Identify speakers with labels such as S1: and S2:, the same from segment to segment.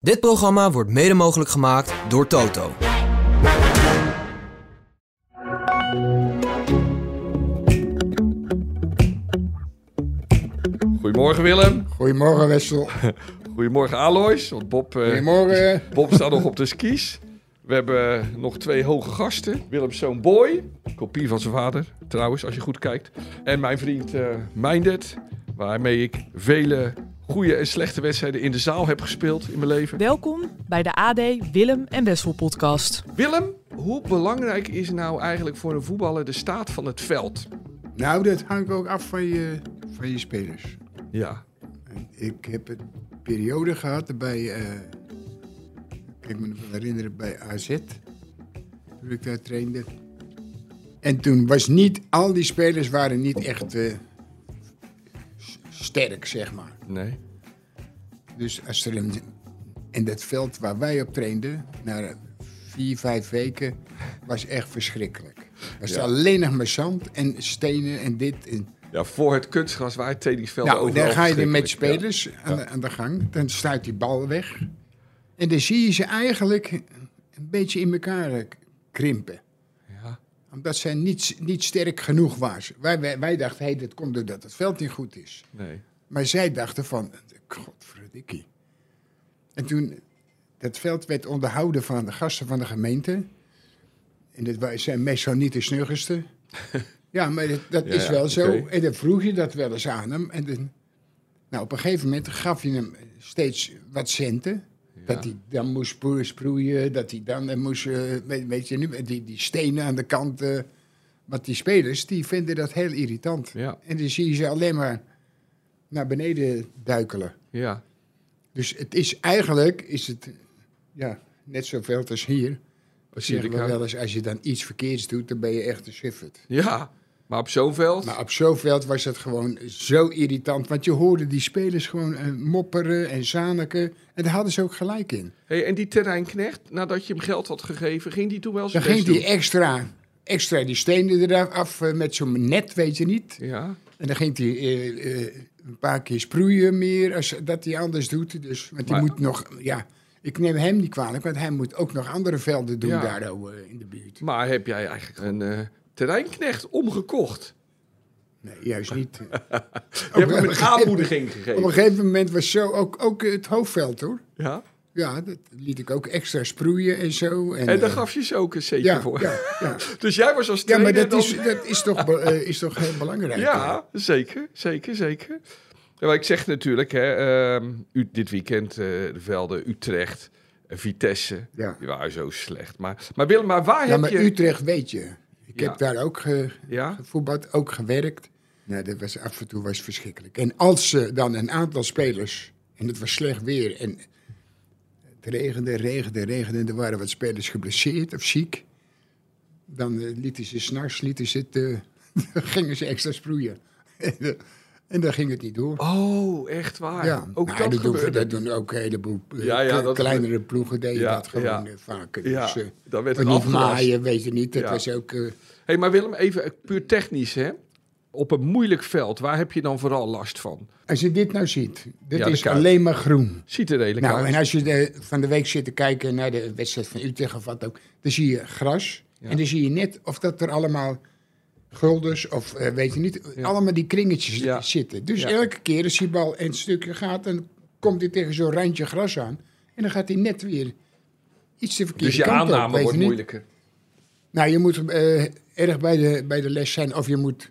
S1: Dit programma wordt mede mogelijk gemaakt door Toto.
S2: Goedemorgen Willem.
S3: Goedemorgen Wessel.
S2: Goedemorgen Alois. Want Bob, eh,
S3: Goedemorgen.
S2: Bob staat nog op de skis. We hebben eh, nog twee hoge gasten. Willem zo'n boy. Kopie van zijn vader, trouwens, als je goed kijkt. En mijn vriend eh Meindert. Waarmee ik vele goede en slechte wedstrijden in de zaal heb gespeeld in mijn leven.
S4: Welkom bij de AD Willem en Wessel podcast.
S2: Willem, hoe belangrijk is nou eigenlijk voor een voetballer de staat van het veld?
S3: Nou, dat hangt ook af van je, van je spelers.
S2: Ja.
S3: En Ik heb een periode gehad bij, eh ik me nog wel herinneren, bij AZ. Toen ik daar trainde. En toen was niet, al die spelers waren niet echt eh, s- sterk, zeg maar.
S2: Nee.
S3: Dus als er een, in dat veld waar wij op trainden, na vier, vijf weken, was echt verschrikkelijk. Was
S2: Ja.
S3: alleen nog maar zand en stenen en dit. En,
S2: Ja, voor het kunstgras waar het trainingsveld
S3: nou,
S2: overal
S3: dan ga je er met
S2: verschrikkelijk. Ja.
S3: spelers aan, de, aan de gang. Dan stuit die bal weg. En dan zie je ze eigenlijk een beetje in elkaar eh, krimpen.
S2: Ja.
S3: Omdat zij niet, niet sterk genoeg was. Wij, wij, wij dachten, hey, dat komt doordat het veld niet goed is.
S2: Nee.
S3: Maar zij dachten van, godverdikkie. En toen, dat veld werd onderhouden van de gasten van de gemeente. En dat wij zijn meestal niet de snuggerste. ja, maar dat, dat
S2: Ja,
S3: is
S2: ja,
S3: wel zo.
S2: oké.
S3: En dan vroeg je dat wel eens aan hem. En dan, nou, op een gegeven moment gaf je hem steeds wat centen. Dat hij dan moest sproe- sproeien, dat hij dan eh, moest, eh, weet, weet je nu, met die, die stenen aan de kant. eh. want die spelers, die vinden dat heel irritant.
S2: Ja.
S3: En dan zie je ze alleen maar naar beneden duikelen.
S2: Ja.
S3: Dus het is eigenlijk is het, ja, net zoveel als hier. Dat
S2: zie
S3: zeggen
S2: ik
S3: we
S2: ook.
S3: wel eens, als je dan iets verkeerds doet, dan ben je echt een suffert.
S2: Ja. Maar op zo'n veld?
S3: Maar op Zoveld was dat gewoon zo irritant. Want je hoorde die spelers gewoon eh, mopperen en zaniken. En daar hadden ze ook gelijk in.
S2: Hey, en die terreinknecht, nadat je hem geld had gegeven, ging die toen wel
S3: Dan
S2: zijn
S3: ging
S2: best
S3: die extra, extra die stenen eraf af eh, met zo'n net, weet je niet.
S2: doen? Ja,
S3: En dan ging hij eh, eh, een paar keer sproeien meer als dat hij anders doet. Dus, want hij
S2: Maar-
S3: moet nog, ja, ik neem hem niet kwalijk, want hij moet ook nog andere velden doen
S2: Ja.
S3: daar oh, eh, in de buurt.
S2: maar heb jij eigenlijk een eh, terreinknecht
S3: Oh,
S2: omgekocht?
S3: Nee, juist niet. Eh,
S2: Je hebt hem een
S3: een gegeven-
S2: aanmoediging
S3: Op een
S2: gegeven.
S3: gegeven moment was zo ook, ook het hoofdveld hoor.
S2: Ja?
S3: Ja, dat liet ik ook extra sproeien en zo. En,
S2: En daar
S3: eh,
S2: gaf je ze ook een zetje
S3: ja,
S2: voor.
S3: ja, ja.
S2: Dus jij was als
S3: ja,
S2: trainer
S3: maar dat
S2: dan-
S3: is, dat is toch, be- eh, is toch heel belangrijk.
S2: Ja, zeker, zeker, zeker. Ja, maar ik zeg natuurlijk, hè, ehm, u, dit weekend eh, de velden Utrecht, eh, Vitesse,
S3: Ja.
S2: die waren zo slecht. Maar, maar Willem, maar waar
S3: Ja,
S2: heb
S3: maar
S2: je...
S3: Utrecht weet je. Ik
S2: Ja.
S3: heb daar ook ge,
S2: Ja?
S3: gevoetbald, ook gewerkt. Nou, dat was af en toe was verschrikkelijk. En als ze dan een aantal spelers, en het was slecht weer, en het regende, regende, regende, en er waren wat spelers geblesseerd of ziek, dan eh, lieten ze s'nachts, lieten ze het, eh, dan gingen ze extra sproeien. en, eh, en dan ging het niet door.
S2: Oh, echt waar?
S3: ja,
S2: Ook
S3: Nou,
S2: dat
S3: doen,
S2: gebeurde. dus.
S3: dat doen ook een heleboel eh,
S2: Ja, ja,
S3: kle-
S2: dat-
S3: kleinere ploegen, deden
S2: Ja,
S3: dat gewoon
S2: ja.
S3: eh, vaker.
S2: Ja,
S3: Dus, eh,
S2: dan werd het
S3: Van die
S2: afgelast.
S3: maaien, weet je niet, dat
S2: Ja.
S3: was ook... eh,
S2: Hé, maar Willem, even eh, puur technisch, hè? Op een moeilijk veld, waar heb je dan vooral last van?
S3: Als je dit nou ziet, dit
S2: Ja, de
S3: is
S2: kuit.
S3: alleen maar groen.
S2: Ziet er redelijk
S3: Nou,
S2: uit.
S3: en als je de, van de week zit te kijken naar de wedstrijd van Utrecht of wat ook, dan zie je gras.
S2: Ja.
S3: En dan zie je net of dat er allemaal gulders of eh, weet je niet,
S2: Ja.
S3: allemaal die kringetjes
S2: Ja.
S3: zitten. Dus
S2: Ja.
S3: elke keer als die bal een stukje gaat, dan komt hij tegen zo'n randje gras aan. En dan gaat hij net weer iets te verkeerde
S2: Dus je
S3: kant op,
S2: aanname
S3: weet je
S2: wordt
S3: niet.
S2: moeilijker.
S3: Nou, je moet eh, erg bij de, bij de les zijn of je moet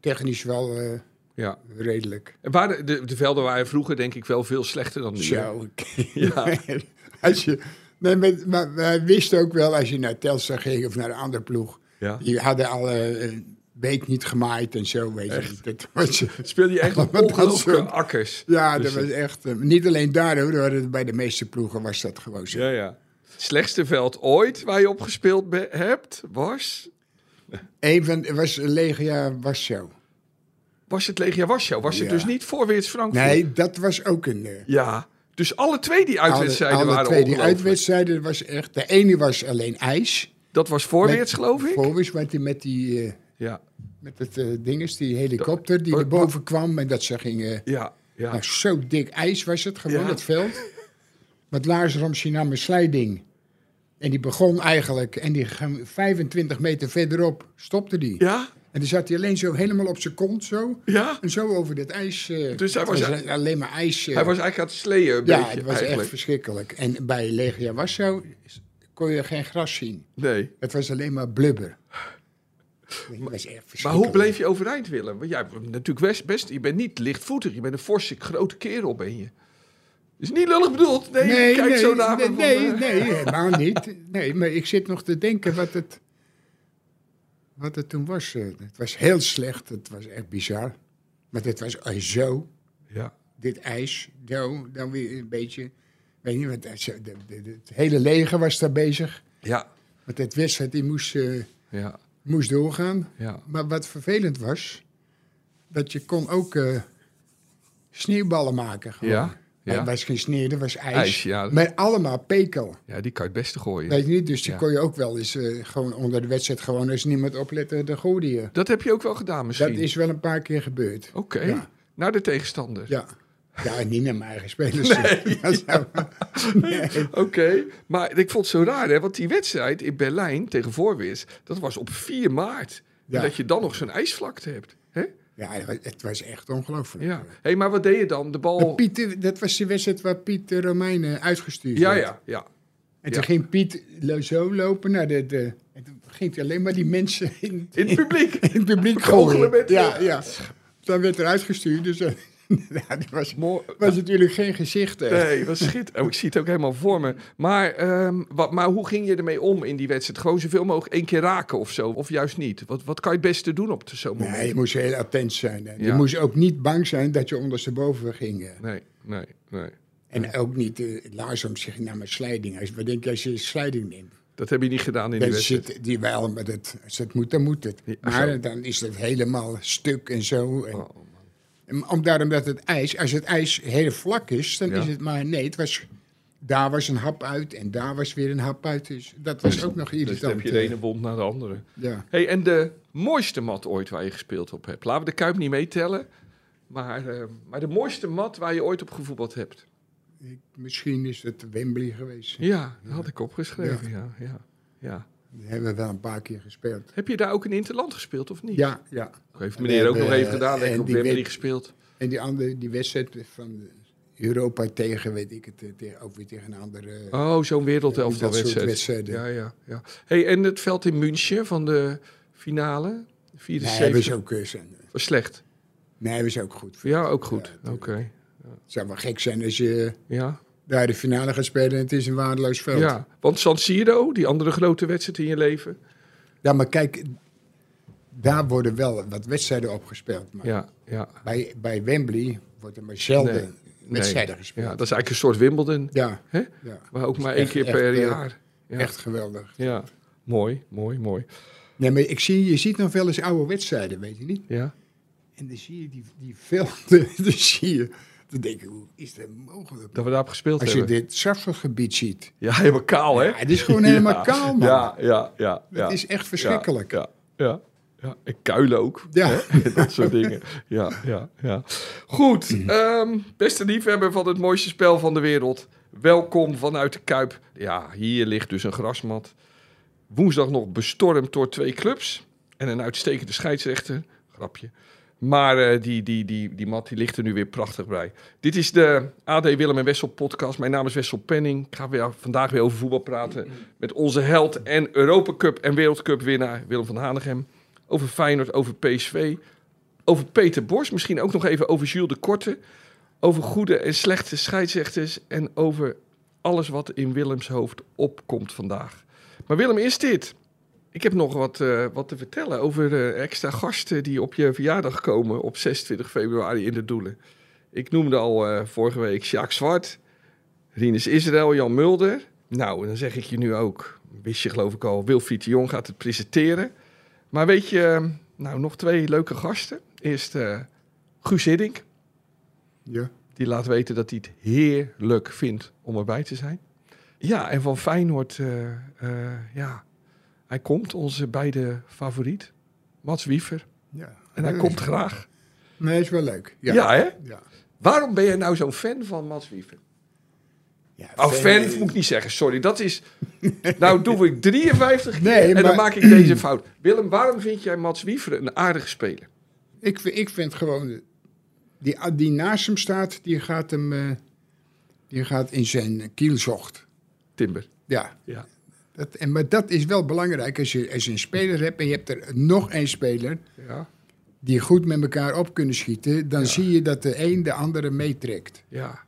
S3: technisch wel eh,
S2: Ja.
S3: redelijk.
S2: En waar de, de, de velden waren vroeger denk ik wel veel slechter dan nu. hè?
S3: Zo, oké.
S2: Ja.
S3: als je, nee, maar, maar wij wisten ook wel, als je naar Telstra ging of naar een andere ploeg.
S2: Ja.
S3: Die hadden al eh, een week niet gemaaid en zo, weet je niet. Dat was,
S2: Speel je echt op
S3: Maar dat
S2: ongelooflijke
S3: soort-
S2: akkers.
S3: ja,
S2: Dus,
S3: dat
S2: eh,
S3: was echt... eh, niet alleen daar, hoor, hoor, bij de meeste ploegen was dat gewoon zo.
S2: Ja, ja. Slechtste veld ooit waar je op gespeeld be- hebt, was...
S3: Eén van, was Legia was zo.
S2: Was het Legia Warschau? Was het
S3: Ja.
S2: dus niet voorweerts Frankfurt?
S3: Nee, dat was ook een... eh,
S2: Ja. Dus alle twee die uitwedstrijden
S3: alle, alle
S2: waren
S3: twee die
S2: ongelooflijk.
S3: uitwedstrijden was echt... De ene was alleen ijs.
S2: Dat was voorweerts, geloof ik?
S3: Volgens, want die met die... eh,
S2: Ja.
S3: met het eh, ding is, die helikopter die
S2: Oh,
S3: er boven kwam en dat ze gingen...
S2: Ja. Ja.
S3: Nou, zo dik ijs was het gewoon,
S2: Ja.
S3: het veld. Want Lars Ramsey nam een slijding. En die begon eigenlijk. En die ging 25 meter verderop stopte die.
S2: Ja?
S3: En dan zat hij alleen zo helemaal op zijn kont zo.
S2: Ja?
S3: En zo over dit ijs. eh,
S2: Dus hij was
S3: het
S2: eigenlijk-
S3: alleen maar ijs. eh,
S2: Hij was eigenlijk aan het sleeën een
S3: ja,
S2: beetje.
S3: het was echt
S2: eigenlijk.
S3: verschrikkelijk. En bij Legia Warschau kon je geen gras zien.
S2: Nee.
S3: Het was alleen maar blubber. Het was echt
S2: Maar
S3: verschrikkelijk.
S2: hoe bleef je overeind, Willem? Want jij bent natuurlijk best, best... Je bent niet lichtvoetig. Je bent een forse, grote kerel ben je. Is niet lullig bedoeld. Nee,
S3: Nee,
S2: kijk
S3: nee,
S2: zo naar
S3: nee,
S2: me.
S3: nee,
S2: van, eh,
S3: nee, helemaal niet. Nee, maar ik zit nog te denken wat het, wat het toen was. eh. Het was heel slecht, het was echt bizar. Maar het was eh, zo,
S2: Ja.
S3: dit ijs, zo, dan weer een beetje... Weet je, want het, zo- de- de- de- het hele leger was daar bezig.
S2: Ja.
S3: Want het wedstrijd die moest, eh,
S2: Ja.
S3: moest doorgaan.
S2: Ja.
S3: Maar wat vervelend was, dat je kon ook eh, sneeuwballen maken. gewoon.
S2: Ja.
S3: Maar
S2: Ja.
S3: Het was geen sneeuw, dat Eh, was ijs.
S2: Ijs, ja.
S3: Maar allemaal pekel.
S2: ja, die kan je het beste gooien.
S3: Weet je niet, dus die
S2: Ja.
S3: kon je ook wel eens eh, gewoon onder de wedstrijd, gewoon als niemand eh, oplette, dan gooide je.
S2: Dat heb je ook wel gedaan
S3: Dat
S2: misschien. Oh.
S3: is wel een paar keer gebeurd.
S2: Oké.
S3: Ja.
S2: Naar de tegenstander.
S3: Ja. Ja, en niet naar mijn eigen spelers. Dat is wel-
S2: Oké, maar ik vond het zo raar, hè? Want die wedstrijd in Berlijn tegen Voorwis, dat was op 4 maart.
S3: Ja.
S2: En dat je dan nog zo'n ijsvlakte hebt. Hè?
S3: Ja, het wa- het was echt ongelooflijk.
S2: Ja. Oh. hey, maar wat deed je dan? De
S3: Maar
S2: bal.
S3: Piet, eh, dat was die wedstrijd waar Piet de Romein eh, uitgestuurd
S2: Ja,
S3: werd.
S2: ja, ja.
S3: En toen
S2: Ja.
S3: ging Piet lo- zo lopen naar de, de... En toen ging hij alleen maar die mensen in,
S2: In het publiek.
S3: in het publiek
S2: Kogelen
S3: gooien.
S2: met-
S3: ja, ja. Dan werd er uitgestuurd, dus... eh, ja, dat was,
S2: Mooi.
S3: was natuurlijk geen gezicht. echt.
S2: Nee, wat schiet. Oh, ik zie het ook helemaal voor me. Maar, ehm, wat, maar hoe ging je ermee om in die wedstrijd? Gewoon zoveel mogelijk één keer raken of zo? Of juist niet? Wat, wat kan je het beste doen op zo'n moment?
S3: Nee, je moest heel attent zijn. hè. Je
S2: Ja.
S3: moest ook niet bang zijn dat je ondersteboven ging. hè.
S2: nee, nee. nee.
S3: En ook niet eh, Lars om zich naar mijn slijding. Als, wat denk je als je slijding neemt?
S2: Dat heb je niet gedaan in die
S3: Dan
S2: wedstrijd.
S3: zit die wel, maar dat, als dat moet, dan moet het.
S2: Ja,
S3: maar
S2: zo.
S3: dan is het helemaal stuk en zo. En,
S2: Oh,
S3: en om, daarom dat het ijs, als het ijs heel vlak is, dan
S2: Ja.
S3: is het maar... Nee, het was, daar was een hap uit en daar was weer een hap uit. Dus dat was ook nog
S2: Dus
S3: irritant.
S2: dan heb je de ene wond na de andere.
S3: ja.
S2: Hey, en de mooiste mat ooit waar je gespeeld op hebt. Laten we de Kuip niet meetellen. Maar, eh, maar de mooiste mat waar je ooit op gevoetbald hebt.
S3: Ik- misschien is het Wembley geweest.
S2: Ja, dat had ik opgeschreven. Ja. Ja, ja,
S3: Die hebben we wel een paar keer gespeeld.
S2: Heb je daar ook in Interland gespeeld of niet?
S3: Ja, ja.
S2: Heeft
S3: We
S2: meneer ook
S3: hebben,
S2: nog even
S3: eh,
S2: gedaan. Denk ik
S3: en
S2: op
S3: die
S2: Wembley
S3: win-
S2: gespeeld.
S3: En die andere, die wedstrijd van Europa tegen, weet ik het, eh, tegen, ook weer tegen een andere.
S2: Oh, zo'n wereldelftal
S3: dat soort
S2: wedstrijd.
S3: wedstrijden.
S2: Ja, ja, ja. Hey, en het veld in München van de finale?
S3: nee, we
S2: 74.
S3: zijn ook, eh, zijn-
S2: was Oh, slecht.
S3: nee, we zijn ook goed.
S2: Voor jou ook goed. Oké.
S3: Ja, Het zou wel gek zijn als je
S2: Ja.
S3: daar de finale gaat spelen en het is een waardeloos veld. Ja,
S2: ja, want San Siro, die andere grote wedstrijd in je leven.
S3: maar kijk, daar worden wel wat wedstrijden opgespeeld. Maar
S2: Ja, ja.
S3: bij, bij Wembley wordt er maar zelden wedstrijden
S2: Ja,
S3: gespeeld.
S2: dat is eigenlijk een soort Wimbledon,
S3: Ja,
S2: hè?
S3: ja.
S2: maar ook maar
S3: Echt-
S2: één keer
S3: echt,
S2: per
S3: eh,
S2: jaar. Ja.
S3: echt geweldig.
S2: Ja, mooi, mooi, mooi.
S3: Nee, maar ik zie, je ziet nog wel eens oude wedstrijden, weet je niet?
S2: Ja,
S3: En dan zie je die, die velden, dan zie je, dan denk je, hoe is dat mogelijk?
S2: dat we daarop gespeeld
S3: Als je
S2: hebben.
S3: dit Zaffergebied ziet,
S2: Ja, helemaal kaal, hè?
S3: ja, het is gewoon helemaal
S2: Ja,
S3: kaal, man.
S2: Ja, ja, ja. ja.
S3: Het is echt verschrikkelijk.
S2: Ja, ja, ja. Ja, en kuilen ook.
S3: Ja.
S2: hè? dat soort dingen. Ja, ja, ja. Goed, ehm, beste liefhebber van het mooiste spel van de wereld. Welkom vanuit de Kuip. Ja, hier ligt dus een grasmat. Woensdag nog bestormd door twee clubs. En een uitstekende scheidsrechter. Grapje. Maar eh, die, die, die, die mat die ligt er nu weer prachtig bij. Dit is de AD Willem en Wessel podcast. Mijn naam is Wessel Penning. Ik ga weer, vandaag weer over voetbal praten. Met onze held en Europa Cup en Wereldcup winnaar Willem van Hanegem. Over Feyenoord, over PSV. Over Peter Bos. Misschien ook nog even over Jules de Korte. Over goede en slechte scheidsrechters. En over alles wat in Willems hoofd opkomt vandaag. Maar Willem, is dit? Ik heb nog wat, eh, wat te vertellen over eh, extra gasten die op je verjaardag komen op 26 februari in de Doelen. Ik noemde al eh, vorige week Sjaak Zwart, Rinus Israël, Jan Mulder. Nou, en dan zeg ik je nu ook, wist je geloof ik al, Wilfried de Jong gaat het presenteren. Maar weet je, eh, nou nog twee leuke gasten. Eerst eh, Guus Hiddink,
S3: Ja.
S2: die laat weten dat hij het heerlijk vindt om erbij te zijn. Ja, en van Feyenoord, eh, eh, ja, hij komt, onze beide favoriet, Mats Wiever.
S3: ja.
S2: En hij
S3: Ja.
S2: komt graag.
S3: Nee, is wel leuk.
S2: Ja.
S3: Ja.
S2: hè?
S3: Ja.
S2: Waarom ben je nou zo'n fan van Mats Wiever?
S3: Ja,
S2: Oh, fan moet ik niet zeggen, sorry. Dat is. Nou, doe ik 53 keer
S3: Nee,
S2: en
S3: maar-
S2: dan maak ik deze fout. Willem, waarom vind jij Mats Wiever een aardige speler?
S3: Ik, vi- ik vind gewoon, die, die naast hem staat, die gaat hem eh, die gaat in zijn kielzocht.
S2: Timber.
S3: Ja,
S2: Ja.
S3: dat, en, maar dat is wel belangrijk als je, als je een speler hebt en je hebt er nog één speler
S2: Ja.
S3: die goed met elkaar op kunnen schieten, dan zie je dat de een de andere meetrekt.
S2: Ja.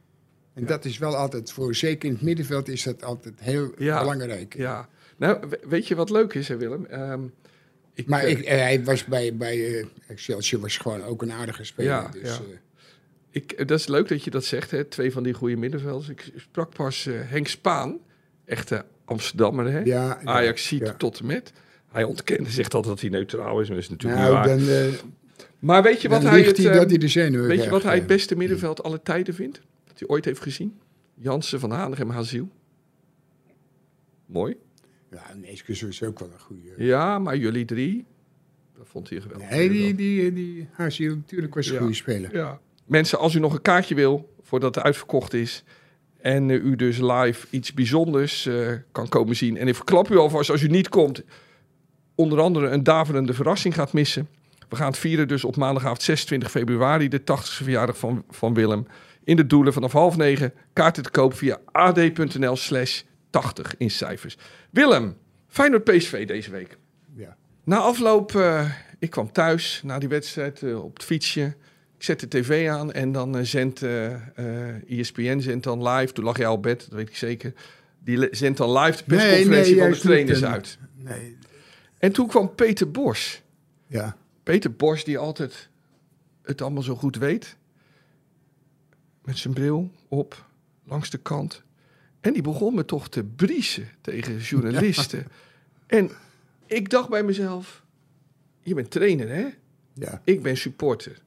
S3: En dat is wel altijd voor, zeker in het middenveld is dat altijd heel
S2: Ja.
S3: belangrijk.
S2: ja. Nou, we- weet je wat leuk is, hè, Willem? Ehm, ik,
S3: Maar
S2: eh,
S3: ik, eh, hij was bij, bij eh, Excelsior was gewoon ook een aardige speler.
S2: Ja,
S3: dus,
S2: ja.
S3: eh,
S2: Ik, eh, dat is leuk dat je dat zegt, hè? twee van die goede middenvelders. Ik sprak pas eh, Henk Spaan, echte Amsterdammer, hè?
S3: ja, ja.
S2: Ajax ziet
S3: ja.
S2: tot en met. Hij ontkent en zegt altijd dat hij neutraal is, maar dat is natuurlijk niet
S3: Nou,
S2: waar.
S3: dan, eh,
S2: maar weet je
S3: dan
S2: wat hij
S3: ligt
S2: het,
S3: hij
S2: eh,
S3: dat hij de zenuwen
S2: weet je
S3: krijgt,
S2: wat hij
S3: eh.
S2: het beste middenveld alle tijden vindt? Dat hij ooit heeft gezien? Jansen, Van Hanegem, Haziel. Mooi.
S3: Ja, Neeskens is ook wel een goede.
S2: Ja, maar jullie drie, dat vond hij geweldig.
S3: Nee, eh, die, die, die Haziel, natuurlijk was een
S2: Ja.
S3: goede speler.
S2: Ja. Mensen, als u nog een kaartje wil voordat het uitverkocht is. En eh, u dus live iets bijzonders eh, kan komen zien. En ik verklap u alvast, als u niet komt, onder andere een daverende verrassing gaat missen. We gaan het vieren dus op maandagavond 26 februari, de 80ste verjaardag van, van Willem. In de Doelen vanaf half negen. Kaarten te koop via ad.nl slash 80 in cijfers. Willem, Feyenoord PSV deze week.
S3: Ja.
S2: Na afloop, eh, ik kwam thuis na die wedstrijd eh, op het fietsje. Ik zet de tv aan en dan eh, zendt eh eh, ESPN zendt dan live. Toen lag jij al op bed, dat weet ik zeker. Die le- zendt dan live de
S3: Nee,
S2: persconferentie
S3: nee,
S2: van de
S3: juist niet,
S2: trainers
S3: eh,
S2: uit.
S3: Nee.
S2: En toen kwam Peter Bos.
S3: Ja.
S2: Peter Bos, die altijd het allemaal zo goed weet. Met zijn bril op, langs de kant. En die begon me toch te briesen tegen journalisten. En ik dacht bij mezelf, je bent trainer hè?
S3: Ja.
S2: Ik ben supporter.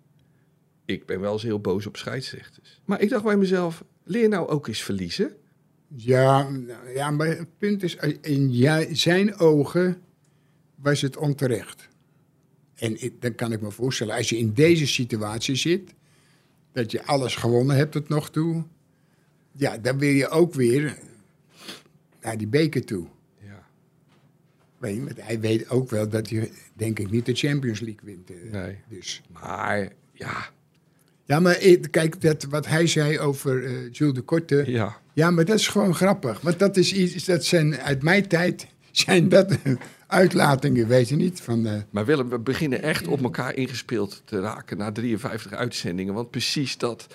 S2: Ik ben wel eens heel boos op scheidsrechters. Maar ik dacht bij mezelf, leer nou ook eens verliezen.
S3: Ja, nou, ja, maar het punt is, eh, in jij- zijn ogen was het onterecht. En ik, dan kan ik me voorstellen, als je in deze situatie zit, dat je alles gewonnen hebt tot nog toe, ja, dan wil je ook weer naar die beker toe.
S2: Ja,
S3: Weet je, want hij weet ook wel dat hij, denk ik, niet de Champions League wint. eh,
S2: Nee.
S3: Dus.
S2: maar ja,
S3: Ja, maar ik- kijk, dat, wat hij zei over eh Jules de Korte. Ja.
S2: ja.
S3: maar dat is gewoon grappig. Want dat is iets, dat zijn uit mijn tijd, zijn dat uitlatingen, weet je niet? Van, eh,
S2: Maar Willem, we beginnen echt op elkaar ingespeeld te raken na 53 uitzendingen. Want precies dat.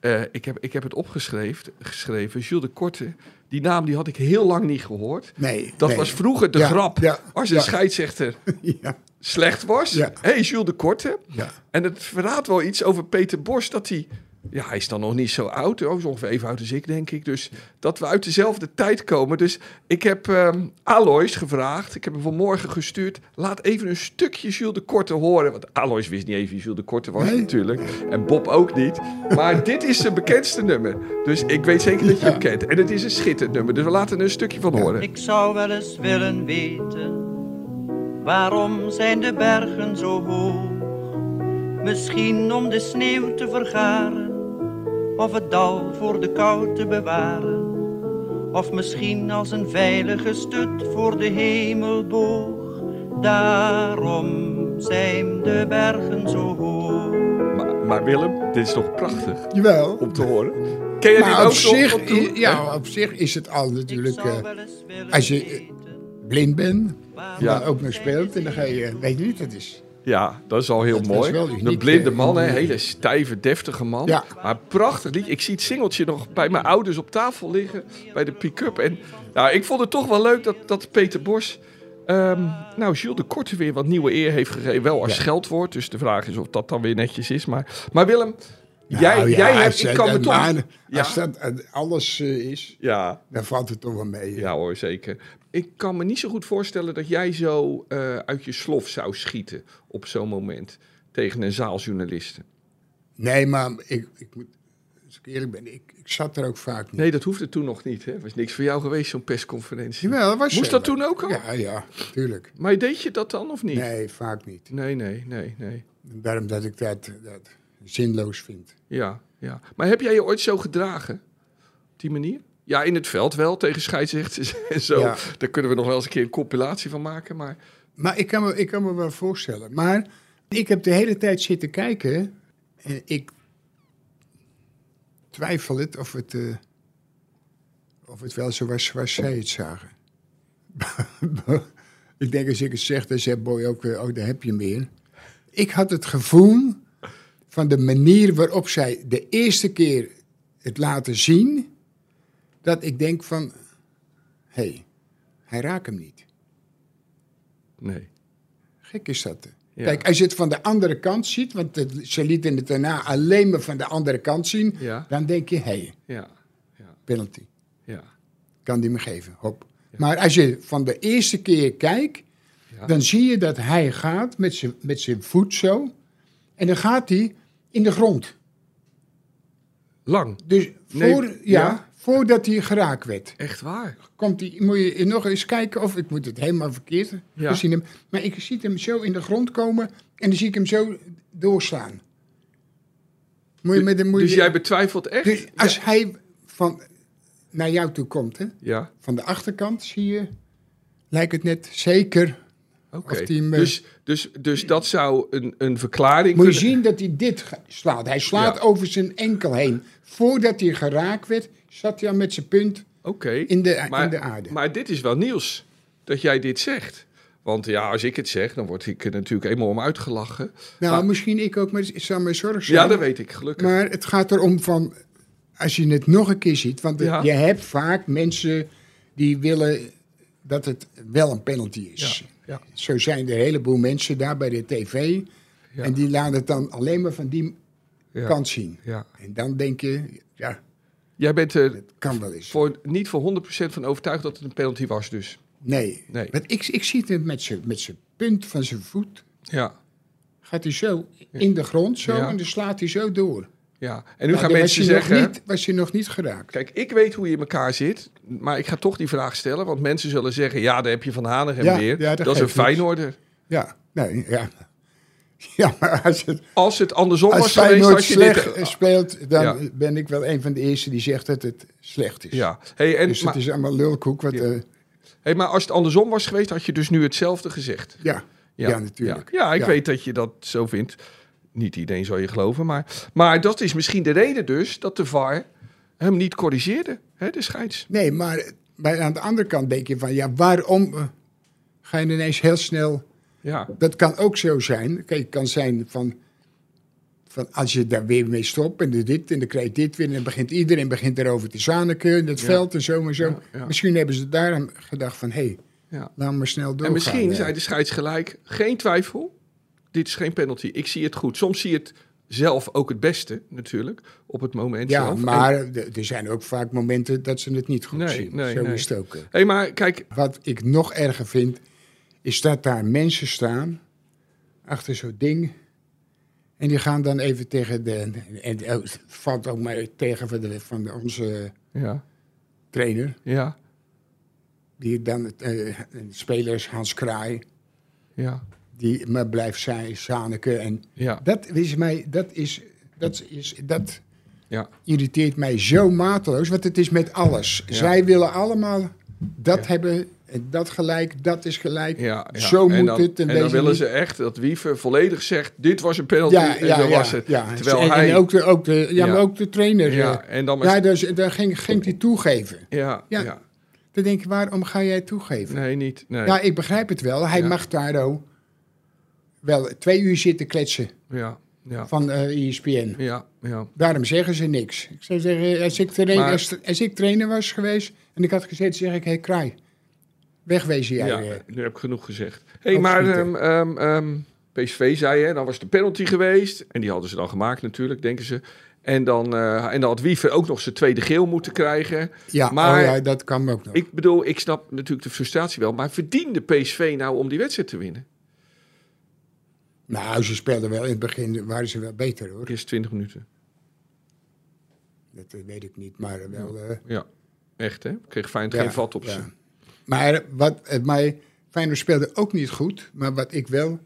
S2: eh, ik, heb, ik heb het opgeschreven. Geschreven, Jules de Korte. Die naam die had ik heel lang niet gehoord.
S3: nee.
S2: Dat
S3: nee.
S2: was vroeger de
S3: Ja,
S2: grap.
S3: ja,
S2: Als een
S3: ja.
S2: scheidsrechter
S3: ja,
S2: slecht was. Hé,
S3: Ja.
S2: hey, Jules de Korte.
S3: ja.
S2: En het verraadt wel iets over Peter Bos. Dat hij. Ja, hij is dan nog niet zo oud. Oh, is ongeveer even oud als ik, denk ik. Dus dat we uit dezelfde tijd komen. Dus ik heb ehm Alois gevraagd. Ik heb hem vanmorgen gestuurd. Laat even een stukje Jules de Korte horen. Want Alois wist niet even wie Jules de Korte was, natuurlijk. En Bob ook niet. Maar dit is zijn bekendste nummer. Dus ik weet zeker dat je hem kent. En het is een schitterend nummer. Dus we laten er een stukje van horen.
S5: Ik zou wel eens willen weten, waarom zijn de bergen zo hoog? Misschien om de sneeuw te vergaren, of het dal voor de kou te bewaren. Of misschien als een veilige stut voor de hemelboog. Daarom zijn de bergen zo hoog.
S2: Maar, maar Willem, dit is toch prachtig
S3: Jawel.
S2: om te horen? Ken je dit
S3: Maar
S2: ook
S3: op
S2: nog?
S3: zich,
S2: Op toe?
S3: i- ja, op zich is het al natuurlijk,
S5: ik zou
S3: eh,
S5: wel eens willen
S3: als je-
S5: weten,
S3: blind bent,
S5: waarom
S2: Ja.
S3: maar ook nog speelt. En dan ga je, weet je niet, dat is...
S2: Ja, dat is al heel
S3: Dat was
S2: mooi.
S3: wel uniek,
S2: een blinde
S3: eh,
S2: man, hè?
S3: in die-
S2: hele stijve, deftige man.
S3: Ja.
S2: Maar een prachtig liedje. Ik zie het singeltje nog bij mijn ouders op tafel liggen, bij de pick-up. En nou, ik vond het toch wel leuk dat, dat Peter Bos, ehm, nou, Jules de Korte weer wat nieuwe eer heeft gegeven. Wel als scheldwoord, dus de vraag is of dat dan weer netjes is. Maar, maar Willem, jij,
S3: Nou ja,
S2: jij hebt,
S3: als,
S2: ik
S3: eh,
S2: kan me
S3: dat-
S2: toch...
S3: maar
S2: ja,
S3: Als dat eh, alles eh, is,
S2: ja,
S3: dan valt het toch wel mee.
S2: ja hoor, zeker. Ik kan me niet zo goed voorstellen dat jij zo eh, uit je slof zou schieten op zo'n moment tegen een zaaljournalisten.
S3: Nee, maar ik, ik moet, als ik eerlijk ben, ik, ik zat er ook vaak niet.
S2: Nee, dat hoefde toen nog niet. Hè? Was niks voor jou geweest, zo'n persconferentie.
S3: Jawel, dat was
S2: Moest
S3: zo.
S2: dat toen ook al?
S3: Ja, ja, tuurlijk.
S2: Maar deed je dat dan of niet?
S3: Nee, vaak niet.
S2: nee, nee, nee. nee.
S3: Daarom dat ik dat, dat zinloos vind.
S2: Ja, ja. Maar heb jij je ooit zo gedragen? Op die manier? Ja, in het veld wel, tegen scheidsrechters en zo.
S3: Ja.
S2: Daar kunnen we nog wel eens een keer een compilatie van maken. Maar
S3: Maar ik kan, me, ik kan me wel voorstellen. Maar ik heb de hele tijd zitten kijken en ik twijfel het of het, eh, of het wel zo was zoals zij het zagen. ik denk als ik het zeg, dan zegt Boy ook, weer, oh daar heb je meer. Ik had het gevoel van de manier waarop zij de eerste keer het laten zien, dat ik denk van, hé, hey, hij raakt hem niet.
S2: nee.
S3: Gek is dat.
S2: Ja.
S3: Kijk, als je het van de andere kant ziet, want het, ze lieten het daarna alleen maar van de andere kant zien,
S2: Ja.
S3: dan denk je, hé, hey,
S2: Ja, ja,
S3: penalty,
S2: ja.
S3: kan die me geven, hop. Maar als je van de eerste keer kijkt,
S2: Ja.
S3: dan zie je dat hij gaat met zijn- met zijn voet zo, en dan gaat hij in de grond.
S2: Lang.
S3: Dus
S2: Nee,
S3: voor, ja,
S2: ja.
S3: voordat hij geraakt werd,
S2: Echt waar.
S3: komt hij, moet je nog eens kijken of ik moet het helemaal verkeerd
S2: Ja.
S3: gezien hebben. Maar ik zie hem zo in de grond komen en dan zie ik hem zo doorslaan. Moet je met hem, moet
S2: Dus
S3: je-
S2: jij betwijfelt echt?
S3: dus als hij van naar jou toe komt, hè,
S2: Ja,
S3: van de achterkant zie je, lijkt het net zeker.
S2: oké.
S3: Of die me-
S2: Dus, dus, dus dat zou een, een verklaring
S3: Moet je
S2: kunnen-
S3: zien dat hij dit ge- slaat. Hij slaat
S2: Ja.
S3: over zijn enkel heen. Voordat hij geraakt werd, zat hij al met zijn punt
S2: Oké.
S3: in de,
S2: maar,
S3: in de aarde.
S2: Maar dit is wel nieuws dat jij dit zegt. Want ja, als ik het zeg, dan word ik er natuurlijk eenmaal om uitgelachen.
S3: nou,
S2: maar-
S3: misschien ik ook, maar het zou mijn zorg zijn.
S2: Ja, dat weet ik, gelukkig.
S3: Maar het gaat erom van, als je het nog een keer ziet, want
S2: Ja.
S3: je hebt vaak mensen die willen dat het wel een penalty is.
S2: ja.
S3: Zo zijn er een heleboel mensen daar bij de tv
S2: Ja.
S3: en die laten het dan alleen maar van die
S2: Ja.
S3: kant zien.
S2: Ja.
S3: En dan denk je, ja,
S2: Jij bent er
S3: het kan wel eens.
S2: voor, niet voor 100% van overtuigd dat het een penalty was, dus.
S3: Nee,
S2: Nee.
S3: want ik, ik zie het met zijn met zijn punt van zijn voet,
S2: Ja.
S3: gaat hij zo in de grond zo
S2: Ja.
S3: en dan slaat hij zo door.
S2: ja. En nu
S3: Nou,
S2: gaan
S3: dan
S2: mensen
S3: was hij nog
S2: zeggen...
S3: niet, was hij nog niet geraakt.
S2: Kijk, ik weet hoe je in elkaar zit, maar ik ga toch die vraag stellen. Want mensen zullen zeggen, ja, daar heb je Van Hanegem
S3: Ja,
S2: weer.
S3: ja, dat
S2: dat is een
S3: geeft niks.
S2: Feyenoorder.
S3: Ja, nee, ja. Ja, maar als het,
S2: Als het andersom
S3: Als
S2: was geweest,
S3: Feyenoord
S2: als je dit... eh,
S3: slecht speelt, dan
S2: Ja.
S3: ben ik wel een van de eerste die zegt dat het slecht is.
S2: Ja, hey, en,
S3: Dus
S2: maar,
S3: het is allemaal lulkoek. Wat, eh,
S2: hey, maar als het andersom was geweest, had je dus nu hetzelfde gezegd.
S3: ja. Ja, natuurlijk.
S2: Ja, Ja, ik
S3: Ja.
S2: weet dat je dat zo vindt. Niet iedereen zal je geloven, maar, maar dat is misschien de reden dus dat de VAR hem niet corrigeerde, hè, de scheids.
S3: Nee, maar, maar aan de andere kant denk je van, ja, waarom eh, ga je ineens heel snel...
S2: Ja,
S3: Dat kan ook zo zijn. Kijk, het kan zijn van, van als je daar weer mee stopt en doe dit en dan krijg je dit weer... en dan begint iedereen begint erover te zaniken in het veld en zo en zo.
S2: Ja, ja.
S3: Misschien hebben ze daarom gedacht van, hé, hey,
S2: ja.
S3: laat maar snel doorgaan.
S2: En misschien
S3: eh.
S2: zei de scheids gelijk, geen twijfel, dit is geen penalty. Ik zie het goed. Soms zie je het zelf ook het beste, natuurlijk, op het moment
S3: Ja,
S2: zelf. En-
S3: maar er- er zijn ook vaak momenten dat ze het niet goed
S2: Nee,
S3: zien.
S2: nee,
S3: Zo
S2: nee.
S3: is het ook. eh.
S2: hey, maar kijk,
S3: Wat ik nog erger vind, is dat daar mensen staan achter zo'n ding. En die gaan dan even tegen de. En oh, het valt ook maar tegen van, de, van de- onze
S2: ja,
S3: trainer.
S2: ja,
S3: Die dan, het, eh, spelers Hans Kraai,
S2: ja,
S3: die maar blijft zijn, zaniken. En
S2: ja,
S3: dat is mij, dat is, dat is, dat
S2: ja,
S3: irriteert mij zo mateloos, want het is met alles.
S2: Ja.
S3: Zij willen allemaal dat
S2: Ja.
S3: hebben, en dat gelijk, dat is gelijk.
S2: ja. ja.
S3: Zo
S2: en
S3: moet
S2: dan,
S3: het.
S2: En
S3: wees
S2: dan
S3: er
S2: willen
S3: niet-
S2: ze echt dat Wiever volledig zegt, dit was een penalty
S3: Ja,
S2: en
S3: ja,
S2: zo
S3: ja,
S2: was het.
S3: ja.
S2: Terwijl
S3: en,
S2: hij...
S3: en ook de, ook de,
S2: Ja.
S3: ja, maar ook de trainer.
S2: ja,
S3: eh,
S2: en dan maar
S3: ja, daar, is- daar ging, ging hij toegeven.
S2: Ja, ja.
S3: Ja. Dan denk ik, waarom ga jij toegeven?
S2: Nee, niet. Nee.
S3: Ja,
S2: Ja.
S3: ik begrijp het wel. Hij
S2: Ja.
S3: mag daar ook wel twee uur zitten kletsen
S2: Ja. Ja.
S3: van eh ESPN.
S2: ja, ja,
S3: Daarom zeggen ze niks. Ik zou zeggen, als ik, train-
S2: Maar-
S3: als, als ik trainer was geweest en ik had gezeten, zeg ik, hé hey, Kraai, wegwezen jij. eh.
S2: nu heb ik genoeg gezegd. hey,
S3: Ook
S2: maar ehm
S3: schieten.
S2: ehm ehm, PSV zei, hè, dan was de penalty geweest. En die hadden ze dan gemaakt natuurlijk, denken ze. En dan, eh, en dan had Wiever ook nog zijn tweede geel moeten krijgen.
S3: Ja,
S2: Maar-
S3: oh ja, dat kan ook nog.
S2: Ik bedoel, ik snap natuurlijk de frustratie wel. Maar verdiende PSV nou om die wedstrijd te winnen?
S3: Nou, ze speelden wel in het begin, waren ze wel beter hoor.
S2: Eerst 20 minuten.
S3: Dat eh, weet ik niet, maar wel... eh,
S2: Ja, echt hè? Kreeg Feyenoord
S3: ja,
S2: geen vat op
S3: ja.
S2: ze.
S3: Maar wat eh, mij, Feyenoord speelde ook niet goed, maar wat ik wel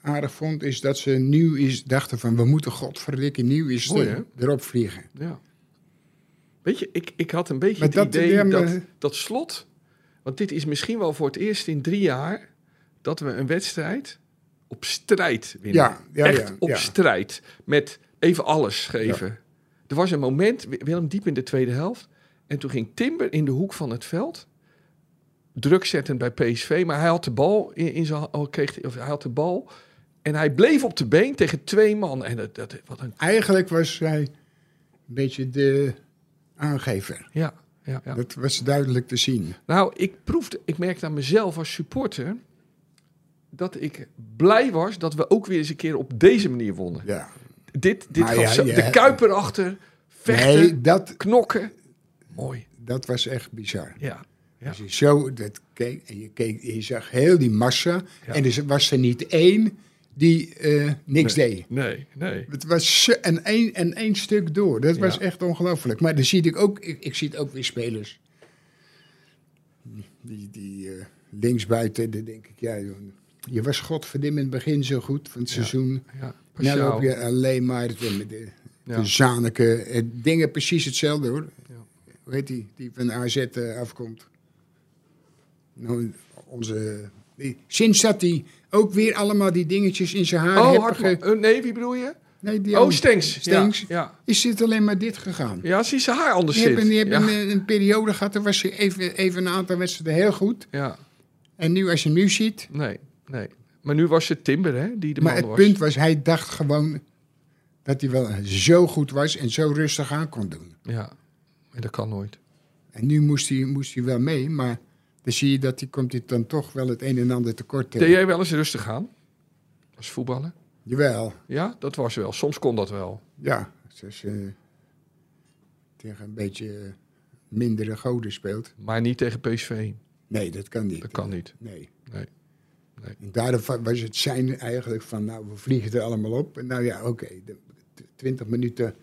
S3: aardig vond, is dat ze nieuw is, dachten van, we moeten godverdikke nieuw is
S2: Mooi,
S3: er-
S2: hè?
S3: erop vliegen.
S2: Ja, Weet je, ik, ik had een beetje
S3: Maar
S2: het
S3: dat- eh,
S2: idee
S3: ja, maar-
S2: dat, dat slot... Want dit is misschien wel voor het eerst in drie jaar... dat we een wedstrijd op strijd winnen.
S3: Ja, ja,
S2: Echt
S3: ja,
S2: op
S3: ja.
S2: strijd. Met even alles geven. Er was een moment, Wi- Willem diep in de tweede helft... en toen ging Timber in de hoek van het veld... druk zetten bij PSV, maar hij had de bal in, in zijn... oh, kreeg, of hij had de bal... En hij bleef op de been tegen twee man. En dat, dat, wat een...
S3: Eigenlijk was hij een beetje de aangever.
S2: Ja, ja, ja.
S3: Dat was duidelijk te zien.
S2: Nou, ik proefde, ik merkte aan mezelf als supporter dat ik blij was dat we ook weer eens een keer op deze manier wonnen.
S3: Ja.
S2: Dit, dit
S3: Maar
S2: gaf
S3: ja,
S2: zo-
S3: je-
S2: de kuiper achter, vechten,
S3: Nee, dat,
S2: knokken. Mooi,
S3: dat was echt bizar.
S2: ja. Ja.
S3: Als je zo dat keek en je, keek, en je zag heel die massa.
S2: Ja.
S3: En er was er niet één die eh, niks deed.
S2: Nee, nee.
S3: Het was zo- en één, en één stuk door. Dat was
S2: Ja.
S3: echt ongelooflijk. Maar dan zie ik ook, ik, ik zie het ook weer spelers. Die, die eh, linksbuiten, dan denk ik, ja, joh, je was godverdim in het begin zo goed van het seizoen.
S2: Ja,
S3: Nu
S2: Pashao.
S3: loop je alleen maar de, de,
S2: Ja.
S3: de Zaneke. eh, Dingen precies hetzelfde hoor.
S2: Ja.
S3: Hoe heet die? Die van AZ eh, afkomt. Nou, onze. Die, sinds dat hij ook weer allemaal die dingetjes in zijn haar
S2: Oh,
S3: heeft
S2: hard,
S3: ge-
S2: nee, wie bedoel je?
S3: Nee, die
S2: Oh,
S3: andere-
S2: Stengs.
S3: Stengs.
S2: Ja, ja.
S3: Is dit alleen maar dit gegaan?
S2: ja, zie ze haar anders
S3: Je hebt,
S2: zit.
S3: een, je hebt
S2: ja.
S3: een, eh, een periode gehad, dan was je even, even een aantal wedstrijden heel goed.
S2: ja,
S3: En nu, als je hem nu ziet.
S2: nee, nee. Maar nu was het Timber, hè, die de
S3: maar
S2: man
S3: het
S2: was.
S3: punt was, hij dacht gewoon dat hij wel zo goed was en zo rustig aan kon doen.
S2: Ja, en dat kan nooit.
S3: En nu moest hij, moest hij wel mee, maar dan zie je dat hij komt hij dan toch wel het een en ander tekort eh,
S2: Deed
S3: tegen.
S2: jij wel eens rustig aan? Als voetballer?
S3: Jawel,
S2: Ja, dat was wel. Soms kon dat wel.
S3: ja. Dus, eh, tegen een beetje eh, mindere goden speelt.
S2: Maar niet tegen PSV.
S3: Nee, dat kan niet.
S2: Dat kan niet.
S3: Nee.
S2: Nee. Nee.
S3: En daarom va- was het zijn eigenlijk van, nou, we vliegen er allemaal op. En nou ja, oké, de- de twintig minuten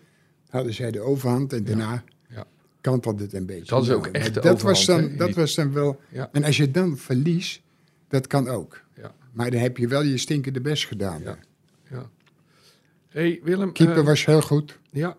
S3: hadden zij de overhand en daarna
S2: Ja.
S3: kantelde het een beetje.
S2: Dat is ook
S3: Nou,
S2: echt de
S3: dat was
S2: overhand,
S3: dan,
S2: hè?
S3: Dat
S2: Niet-
S3: was dan wel...
S2: Ja.
S3: En als je dan verliest, dat kan ook.
S2: Ja.
S3: Maar dan heb je wel je stinkende best gedaan.
S2: Ja. ja. hey, Willem.
S3: Keeper
S2: eh,
S3: was heel goed.
S2: Ja.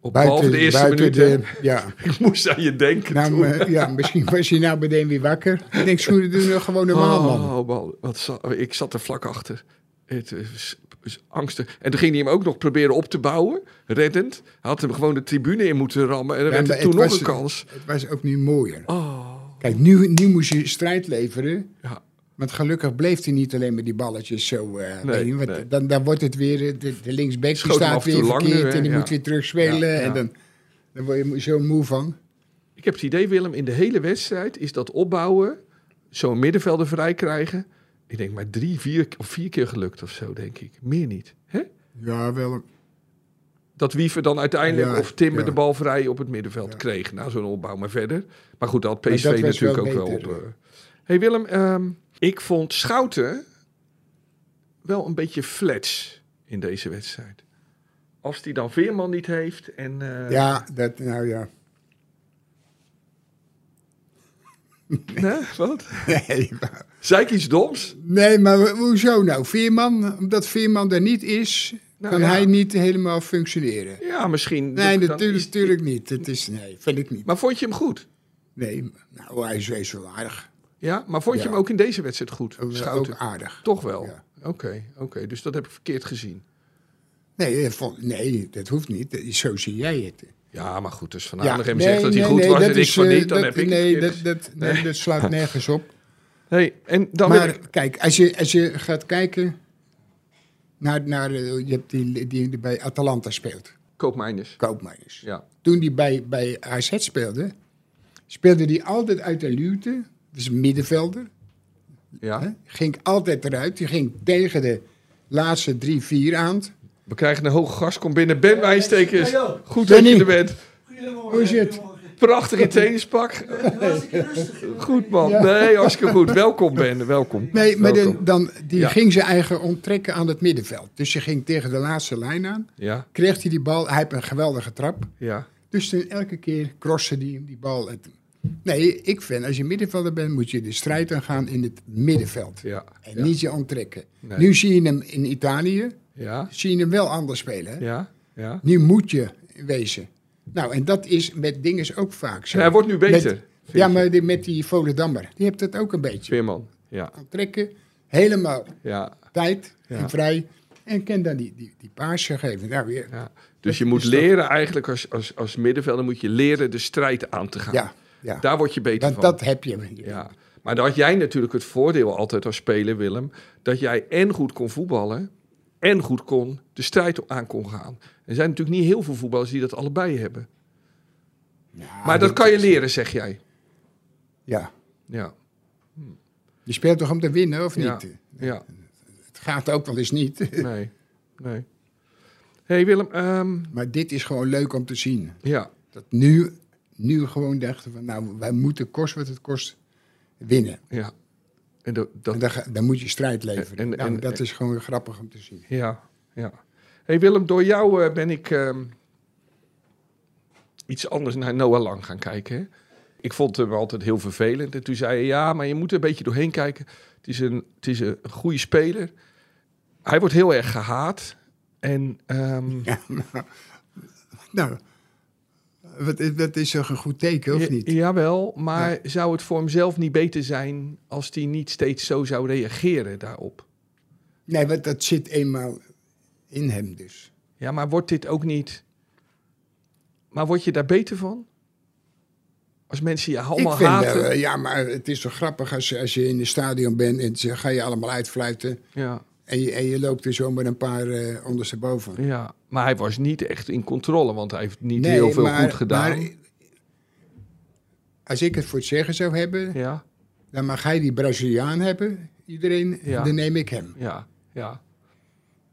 S2: Op behalve de eerste minuut. hè.
S3: ja.
S2: Ik moest aan je denken
S3: Nou,
S2: toen.
S3: maar- ja, misschien was hij nou meteen weer wakker. Ik denk, Sjoerd, doe nou gewoon normaal, man.
S2: Oh, man. Wat za- ik zat er vlak achter. Het eh, is, is angstig. En toen ging hij hem ook nog proberen op te bouwen. Reddend. Hij had hem gewoon de tribune in moeten rammen. En dan
S3: Ja,
S2: werd
S3: maar
S2: het toen
S3: het
S2: nog een
S3: was-
S2: kans.
S3: Het was ook nu mooier.
S2: Oh.
S3: Kijk, nu, nu moest je strijd leveren.
S2: Ja.
S3: Want gelukkig bleef hij niet alleen met die balletjes zo eh
S2: Nee,
S3: heen, want
S2: nee.
S3: Dan, dan wordt het weer, eh, de, de linksback die
S2: Schoot hem
S3: staat
S2: af en
S3: weer
S2: toe lang nu,
S3: verkeerd
S2: hè?
S3: en die
S2: Ja.
S3: moet weer terugspelen.
S2: Ja, ja.
S3: En dan, dan word je mo- zo moe van.
S2: Ik heb het idee, Willem, in de hele wedstrijd is dat opbouwen, zo'n middenvelder vrij krijgen. Ik denk maar drie, vier of vier keer gelukt of zo, denk ik. Meer niet. Hè?
S3: Ja, wel.
S2: Dat Wiever dan uiteindelijk
S3: Ja,
S2: of Timber
S3: ja.
S2: de bal vrij op het middenveld
S3: Ja.
S2: kreeg na zo'n opbouw. Maar verder. Maar goed, dat had
S3: Maar
S2: PSV
S3: dat was
S2: natuurlijk
S3: wel
S2: ook wel op.
S3: beter.
S2: eh. hey Willem, ehm, ik vond Schouten wel een beetje flats in deze wedstrijd. Als die dan Veerman niet heeft en... eh,
S3: Ja, dat, nou ja.
S2: hè, wat?
S3: Nee,
S2: Zei ik iets doms?
S3: Nee, maar ho- hoezo nou? Veerman, omdat Veerman er niet is,
S2: Nou
S3: kan
S2: ja.
S3: hij niet helemaal functioneren.
S2: Ja, misschien.
S3: Nee,
S2: Dan- dan
S3: natuurlijk,
S2: is-
S3: natuurlijk niet. Het is, nee, vind ik niet.
S2: Maar vond je hem goed?
S3: Nee, nou, hij is wees wel aardig.
S2: Ja, maar vond je
S3: Ja.
S2: hem ook in deze wedstrijd goed?
S3: Ook-
S2: Schouten.
S3: Ook aardig.
S2: Toch wel? Oké,
S3: Ja.
S2: oké. Dus dat heb ik verkeerd gezien.
S3: Nee, eh, vol- nee, dat hoeft niet. Dat is- Zo zie jij het.
S2: Ja, maar goed. Dus Van
S3: Ja,
S2: Hanegem
S3: nee,
S2: zegt dat hij
S3: nee,
S2: goed
S3: nee,
S2: was
S3: dat
S2: en ik
S3: is,
S2: van
S3: eh,
S2: niet, dan
S3: dat-
S2: heb ik
S3: nee,
S2: het
S3: dat,
S2: verkeerd.
S3: dat, nee, dat slaat nergens op.
S2: Nee, en dan
S3: Maar
S2: weer...
S3: kijk, als je, als je gaat kijken naar, naar eh, je hebt die, die bij Atalanta speelt,
S2: Koopmijners.
S3: Koopmeiners.
S2: Ja.
S3: toen hij bij, bij AZ speelde, speelde hij altijd uit de luwte. Dus een middenvelder. Hè?
S2: ja.
S3: Ging altijd eruit. Die ging tegen de laatste drie, vier aan.
S2: We krijgen een hoge gast. Kom binnen. Ben Wijnstekers. Goed dat
S3: Benny.
S2: je er bent.
S3: Hoe is het?
S2: Prachtig in tennispak. Goed man.
S3: Ja.
S2: Nee, hartstikke goed. Welkom Ben. Welkom.
S3: Nee, maar
S2: Welkom.
S3: de- dan, die
S2: Ja.
S3: ging zijn eigen onttrekken aan het middenveld. Dus je ging tegen de laatste lijn aan.
S2: Ja,
S3: Kreeg hij die bal. Hij heeft een geweldige trap.
S2: ja.
S3: Dus toen elke keer crossen die hem die bal. En toen- Nee, ik vind, als je middenvelder bent, moet je de strijd aangaan in het middenveld.
S2: Ja.
S3: En
S2: Ja.
S3: niet je onttrekken.
S2: Nee.
S3: Nu zie je hem in Italië,
S2: Ja.
S3: zie je hem wel anders spelen. hè?
S2: Ja. Ja.
S3: Nu moet je wezen. Nou, en dat is met dinges ook vaak zo.
S2: Ja, hij wordt nu beter.
S3: Met-
S2: vind
S3: ja,
S2: ik.
S3: maar die, met die Volendammer. Die hebt dat ook een beetje.
S2: Veerman. Ja,
S3: Kan trekken, helemaal
S2: ja,
S3: tijd
S2: Ja.
S3: en vrij. En kan dan die, die, die paasje geven. Nou, ja,
S2: ja. Dus je moet
S3: is toch-
S2: leren eigenlijk als, als, als middenvelder moet je leren de strijd aan te gaan.
S3: ja, ja.
S2: Daar word je beter
S3: want
S2: van.
S3: dat heb je.
S2: Ja. Maar dan had jij natuurlijk het voordeel altijd als speler, Willem, dat jij en goed kon voetballen en goed kon de strijd aan kon gaan. Er zijn natuurlijk niet heel veel voetballers die dat allebei hebben.
S3: Ja,
S2: maar dat kan je leren, zeg jij.
S3: Ja.
S2: Ja,
S3: Je speelt toch om te winnen, of
S2: Ja.
S3: niet?
S2: ja.
S3: Het gaat ook wel eens niet.
S2: nee, nee. hey Willem, ehm,
S3: Maar dit is gewoon leuk om te zien.
S2: ja,
S3: Dat nu, nu gewoon dachten van, nou, wij moeten kost wat het kost winnen.
S2: ja. En dat, dat,
S3: En dan, ga- dan moet je strijd leveren.
S2: En-
S3: nou,
S2: en-
S3: dat is gewoon grappig om te zien.
S2: Ja, ja. hey Willem, door jou eh, ben ik ehm, iets anders naar Noah Lang gaan kijken. Hè? Ik vond hem altijd heel vervelend. En toen zei hij, ja, maar je moet er een beetje doorheen kijken. Het is een, het is een goede speler. Hij wordt heel erg gehaat. En ehm,
S3: Ja, nou, nou wat, is- dat is toch een goed teken, of
S2: ja-
S3: niet?
S2: jawel, maar zou het voor hemzelf niet beter zijn als hij niet steeds zo zou reageren daarop?
S3: Nee, want dat zit eenmaal in hem dus.
S2: Ja, maar wordt dit ook niet... Maar word je daar beter van? Als mensen je allemaal
S3: ik vind
S2: haten?
S3: wel, eh, ja, maar het is toch grappig als, je- als je in het stadion bent en ze gaan je allemaal uitfluiten.
S2: Ja,
S3: En je, en je loopt er zo met een paar eh ondersteboven.
S2: ja, maar hij was niet echt in controle, want hij heeft niet heel veel goed gedaan.
S3: maar als ik het voor het zeggen zou hebben,
S2: ja,
S3: dan mag hij die Braziliaan hebben, iedereen,
S2: Ja.
S3: dan neem ik hem.
S2: ja, ja.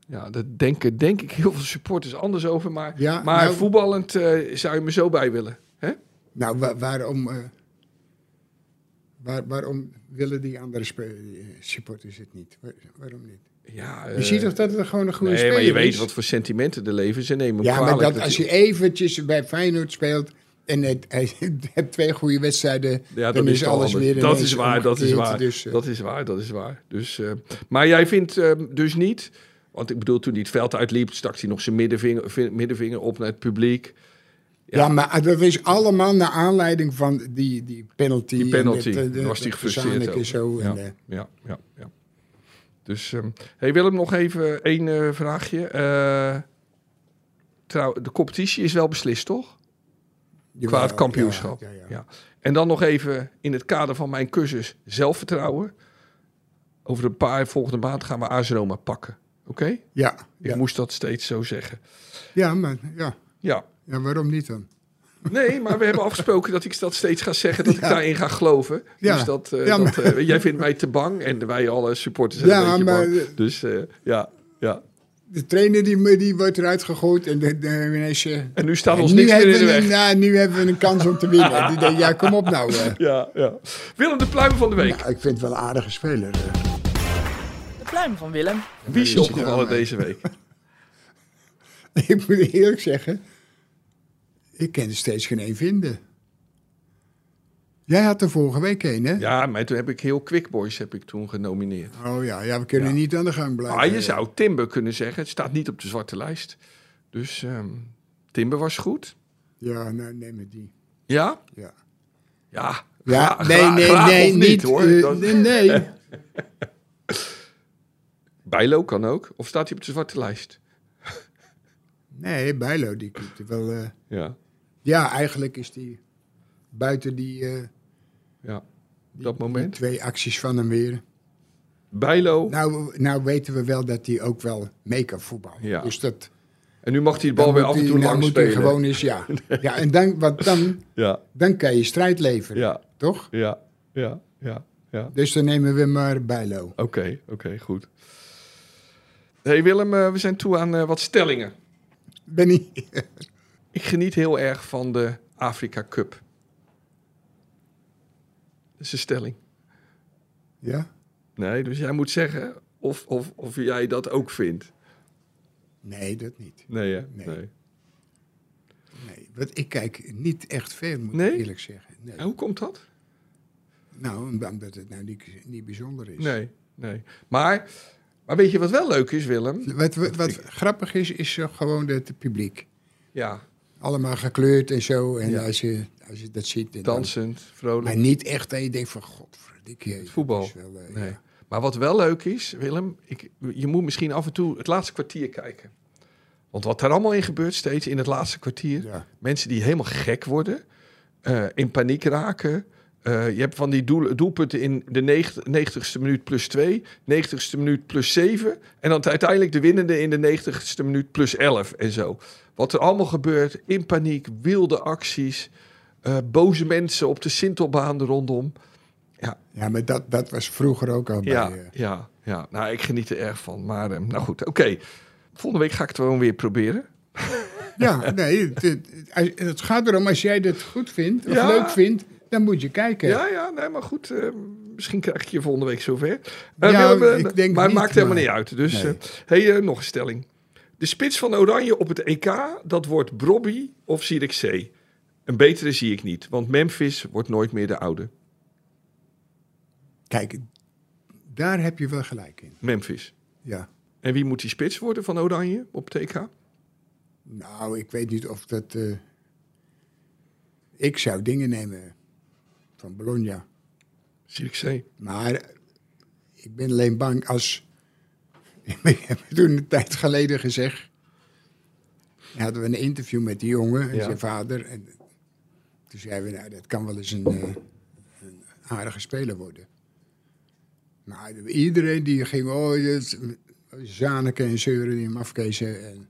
S2: Ja, daar denken denk ik heel veel supporters anders over. Maar,
S3: Ja,
S2: maar
S3: nou-
S2: voetballend eh, zou je me zo bij willen. Hè?
S3: Nou, wa- waarom, eh, waar, waarom willen die andere spe- eh, supporters het niet? Waar- waarom niet?
S2: Ja,
S3: Je
S2: eh,
S3: ziet toch dat het gewoon een goede
S2: nee,
S3: speler
S2: maar je weet
S3: is?
S2: wat voor sentimenten er leven. Ze nemen hem
S3: ja, maar
S2: kwalijk.
S3: dat,
S2: dat
S3: als
S2: hij-
S3: je eventjes bij Feyenoord speelt en het, hij hebt twee goede wedstrijden,
S2: ja,
S3: dan
S2: dat
S3: is alles
S2: anders.
S3: weer
S2: Dat
S3: ineens
S2: is waar, dat is
S3: omgekeerd.
S2: waar.
S3: Dus, eh,
S2: dat is waar, dat is waar. Dus, eh, maar jij vindt eh, dus niet... Want ik bedoel, toen hij het veld uitliep... stak hij nog zijn middenvinger, vin- middenvinger op naar het publiek.
S3: Ja, maar ah, dat is allemaal naar aanleiding van die, die penalty.
S2: Die penalty,
S3: en dat, eh,
S2: daar was
S3: dat
S2: hij gefrustreerd
S3: Zanik
S2: over.
S3: en zo.
S2: Ja,
S3: En, eh,
S2: ja, ja. ja. Dus, ehm, hey Willem, nog even één eh, vraagje. Eh, trouw, de competitie is wel beslist, toch? Qua het
S3: jawel,
S2: kampioenschap.
S3: ja, ja, ja.
S2: En dan nog even in het kader van mijn cursus zelfvertrouwen. Over een paar volgende maand gaan we AS Roma pakken. Oké?
S3: Ja,
S2: Ik
S3: ja.
S2: moest dat steeds zo zeggen.
S3: Ja, maar ja.
S2: Ja.
S3: ja, waarom niet dan?
S2: Nee, maar we hebben afgesproken dat ik dat steeds ga zeggen, dat ik
S3: Ja.
S2: daarin ga geloven.
S3: Ja.
S2: Dus dat, eh,
S3: Ja,
S2: dat,
S3: maar-
S2: eh, jij vindt mij te bang en wij alle supporters zijn
S3: Ja,
S2: een beetje
S3: maar-
S2: bang. Dus eh, ja, ja.
S3: De trainer die, die wordt eruit gegooid en de, de, ineens, eh,
S2: En nu staat ons
S3: nu,
S2: niks meer
S3: hebben
S2: in de
S3: we
S2: weg.
S3: een, nou, nu hebben we een kans om te winnen. die denkt, ja, kom op nou. eh.
S2: Ja, ja. Willem de pluim van de week.
S3: Nou, ik vind het wel een aardige speler. eh.
S4: De pluim van Willem.
S2: Wie is je
S3: is hij
S2: opgevallen
S3: dan, eh?
S2: deze week?
S3: Ik moet eerlijk zeggen, ik kan er steeds geen één vinden. Jij had er vorige week een, hè?
S2: Ja, maar toen heb ik heel Quick Boys heb ik toen genomineerd.
S3: Oh ja, ja we kunnen
S2: Ja.
S3: niet aan de gang blijven.
S2: Maar je zou Timber kunnen zeggen, het staat niet op de zwarte lijst. Dus ehm, Timber was goed.
S3: Ja, nou, neem het die.
S2: Ja?
S3: Ja.
S2: Ja.
S3: Ja,
S2: Gra-
S3: nee,
S2: gra-
S3: nee,
S2: graag
S3: nee,
S2: of
S3: niet.
S2: hoor.
S3: eh,
S2: Dat-
S3: nee, nee.
S2: Bijlo kan ook. Of staat hij op de zwarte lijst?
S3: nee, Bijlo, die komt wel... eh,
S2: Ja.
S3: ja, eigenlijk is die buiten die, eh, die-
S2: Ja, op dat
S3: die
S2: moment.
S3: twee acties van hem weer.
S2: Bijlo.
S3: Nou, nou weten we wel dat hij ook wel mee kan voetballen.
S2: Ja.
S3: Dus dat...
S2: En nu mag hij de bal
S3: dan
S2: weer
S3: moet
S2: af en
S3: hij-
S2: toe
S3: nou
S2: lang
S3: moet hij
S2: spelen.
S3: gewoon eens, ja. ja en dan, want dan,
S2: Ja,
S3: dan kan je strijd leveren,
S2: ja,
S3: toch?
S2: ja, ja, ja, ja.
S3: Dus dan nemen we maar Bijlo.
S2: Oké, oké, goed. hey Willem, eh, we zijn toe aan eh, wat stellingen.
S3: Benny.
S2: Ik geniet heel erg van de Afrika Cup. Dat is een stelling.
S3: Ja?
S2: Nee, dus jij moet zeggen of, of, of jij dat ook vindt.
S3: Nee, dat niet.
S2: Nee, hè?
S3: Nee.
S2: nee.
S3: Nee, want ik kijk niet echt veel, moet
S2: Nee?
S3: ik eerlijk zeggen. Nee.
S2: En hoe komt dat?
S3: Nou, omdat het nou niet, niet bijzonder is.
S2: Nee, nee. Maar, maar weet je wat wel leuk is, Willem?
S3: eh, Wat, wat, wat grappig is, is zo gewoon het publiek.
S2: Ja.
S3: Allemaal gekleurd en zo. En
S2: Ja.
S3: als, je, als je dat ziet. en dan-
S2: Dansend, vrolijk.
S3: Maar niet echt dat je denkt van godverdikke. Het
S2: voetbal.
S3: eh,
S2: Nee. Maar wat wel leuk is, Willem, ik, je moet misschien af en toe het laatste kwartier kijken. Want wat daar allemaal in gebeurt, steeds in het laatste kwartier.
S3: Ja.
S2: Mensen die helemaal gek worden, eh, in paniek raken. Eh, je hebt van die doel- doelpunten in de 90ste minuut plus 2, 90ste minuut plus 7. En dan uiteindelijk de winnende in de 90ste minuut plus 11 en zo. Wat er allemaal gebeurt, in paniek, wilde acties, eh, boze mensen op de Sintelbaan rondom.
S3: Ja, maar dat, dat was vroeger ook al.
S2: Ja,
S3: Bij, eh,
S2: ja, ja. Nou, ik geniet er erg van. Maar eh, nou goed, oké. Volgende week ga ik het gewoon weer proberen.
S3: ja, nee. Het, het- als- het gaat erom, als jij dat goed vindt of
S2: Ja.
S3: leuk vindt, dan moet je kijken.
S2: Ja, ja, nee, maar goed. eh, misschien krijg ik je volgende week zover. Eh,
S3: Ja,
S2: Willem, eh,
S3: ik denk
S2: maar het
S3: niet,
S2: maakt helemaal
S3: maar-
S2: niet uit. Dus,
S3: Nee.
S2: eh, hey, eh, nog een stelling. De spits van Oranje op het EK, dat wordt Brobby of Zierikzee. Een betere zie ik niet, want Memphis wordt nooit meer de oude.
S3: Kijk, daar heb je wel gelijk in.
S2: Memphis.
S3: Ja.
S2: En wie moet die spits worden van Oranje op het EK?
S3: Nou, ik weet niet of dat. eh, ik zou dingen nemen van Bologna.
S2: Zierikzee.
S3: Maar eh, ik ben alleen bang als. ik heb het toen een tijd geleden gezegd. Hadden we een interview met die jongen en
S2: Ja.
S3: zijn vader. En toen zeiden we, nou, dat kan wel eens een, eh, een aardige speler worden. Maar iedereen die ging, oh, dit, Zaneke en Zeuren die hem afkezen. En,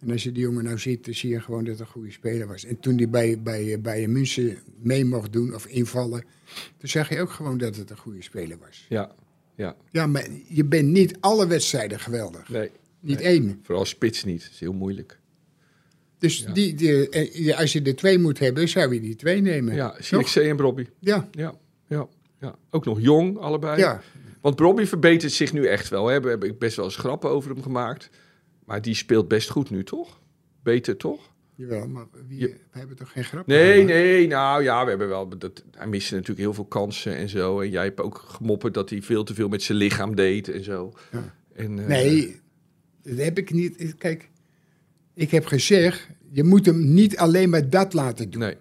S3: en als je die jongen nou ziet, dan zie je gewoon dat hij een goede speler was. En toen hij bij, bij, eh, bij München mee mocht doen of invallen, toen zag je ook gewoon dat het een goede speler was.
S2: Ja, ja,
S3: Ja, maar je bent niet alle wedstrijden geweldig.
S2: nee.
S3: Niet één.
S2: Vooral spits niet. Dat is heel moeilijk.
S3: Dus die, die, eh, je- als je er twee moet hebben, zou je die twee nemen.
S2: Ja,
S3: Toch?
S2: Zierikzee en Brobby.
S3: Ja,
S2: Ja, ja, ja. Ook nog jong, allebei.
S3: ja.
S2: Want Robbie verbetert zich nu echt wel. Hè. We hebben best wel eens grappen over hem gemaakt. Maar die speelt best goed nu, toch? Beter, toch?
S3: Jawel, maar wie,
S2: Je-
S3: we hebben toch geen grap?
S2: Nee,
S3: gemaakt?
S2: nee, nou ja, we hebben wel... Dat, hij miste natuurlijk heel veel kansen en zo. En jij hebt ook gemopperd dat hij veel te veel met zijn lichaam deed en zo.
S3: Ja.
S2: En, eh,
S3: Nee, dat heb ik niet. Kijk, ik heb gezegd, je moet hem niet alleen maar dat laten doen.
S2: Nee,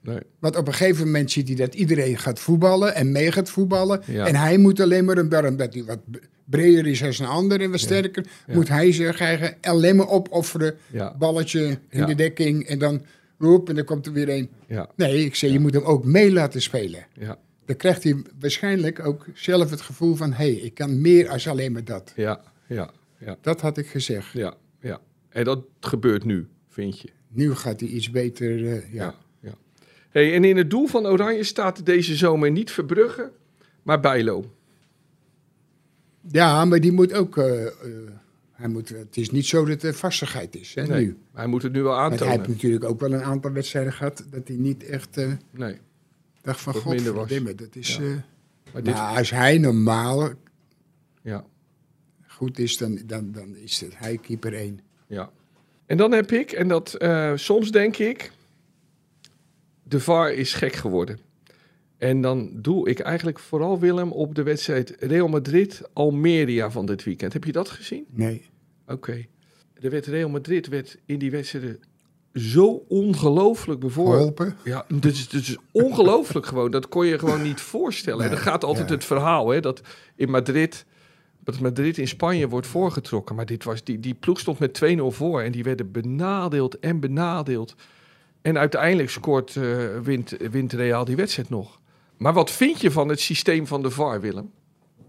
S2: nee.
S3: Want op een gegeven moment ziet hij dat iedereen gaat voetballen en mee gaat voetballen.
S2: Ja.
S3: En hij moet alleen maar, een- omdat hij wat b- breder is als een ander en wat sterker,
S2: Ja.
S3: moet hij zich eigenlijk alleen maar opofferen.
S2: Ja,
S3: Balletje in
S2: Ja.
S3: de dekking en dan roep en dan komt er weer een.
S2: ja,
S3: Nee, ik zei, je moet hem ook mee laten spelen.
S2: ja,
S3: Dan krijgt hij waarschijnlijk ook zelf het gevoel van, hé, hey, ik kan meer als alleen maar dat.
S2: ja, ja, ja,
S3: Dat had ik gezegd.
S2: ja, ja. En dat gebeurt nu, vind je?
S3: Nu gaat hij iets beter. eh, ja.
S2: Ja. ja. Hey, en in het doel van Oranje staat deze zomer niet Verbrugge, maar Bijlo.
S3: ja, maar die moet ook. eh, eh, hij moet, het is niet zo dat er vastigheid is hè,
S2: Nee,
S3: nu.
S2: maar hij moet het nu wel
S3: Want hij
S2: aantonen.
S3: heeft natuurlijk ook wel een aantal wedstrijden gehad dat hij niet echt eh,
S2: Nee,
S3: dacht van
S2: Dat
S3: God,
S2: minder was.
S3: dat is.
S2: Ja.
S3: eh,
S2: maar dit...
S3: maar als hij normaal
S2: Ja,
S3: goed is, dan, dan, dan is het hij keeper één.
S2: ja. En dan heb ik, en dat eh, soms denk ik, de VAR is gek geworden. En dan doe ik eigenlijk vooral Willem op de wedstrijd Real Madrid-Almeria van dit weekend. Heb je dat gezien?
S3: Nee.
S2: Oké. Er werd Real Madrid werd in die wedstrijd zo ongelooflijk bevoorrecht.
S3: Geholpen?
S2: Ja, het is, dit is ongelooflijk gewoon. Dat kon je gewoon niet voorstellen. En
S3: Nee,
S2: dat gaat altijd
S3: ja.
S2: het verhaal, hè, dat in Madrid, dat Madrid in Spanje wordt voorgetrokken. Maar dit was, die, die ploeg stond met 2-0 voor en die werden benadeeld en benadeeld. En uiteindelijk scoort, eh, wint, wint Real die wedstrijd nog. Maar wat vind je van het systeem van de VAR, Willem?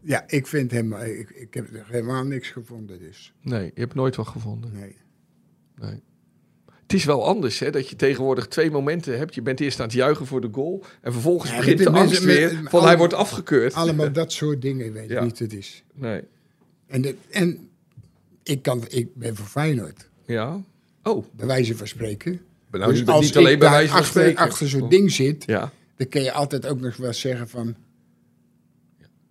S3: Ja, ik vind hem. eh, Ik, ik heb er helemaal niks gevonden, dus.
S2: Nee, je hebt nooit wat gevonden.
S3: Nee.
S2: Het is wel anders, hè, dat je tegenwoordig twee momenten hebt. Je bent eerst aan het juichen voor de goal en vervolgens
S3: Ja,
S2: begint
S3: dit-
S2: de
S3: dit-
S2: angst
S3: met-
S2: weer
S3: met-
S2: van
S3: allemaal-
S2: hij wordt afgekeurd.
S3: Allemaal dat soort dingen, weet
S2: Ja.
S3: ik niet, het is.
S2: Nee,
S3: En, dit- en ik, kan, ik ben voor Feyenoord,
S2: ja. Oh,
S3: bij wijze van spreken.
S2: Maar nou,
S3: Dus
S2: je bent
S3: als
S2: niet alleen
S3: ik
S2: bij
S3: daar
S2: wijze van
S3: achter,
S2: spreken.
S3: achter zo'n ding zit,
S2: Ja.
S3: dan kun je altijd ook nog wel zeggen van...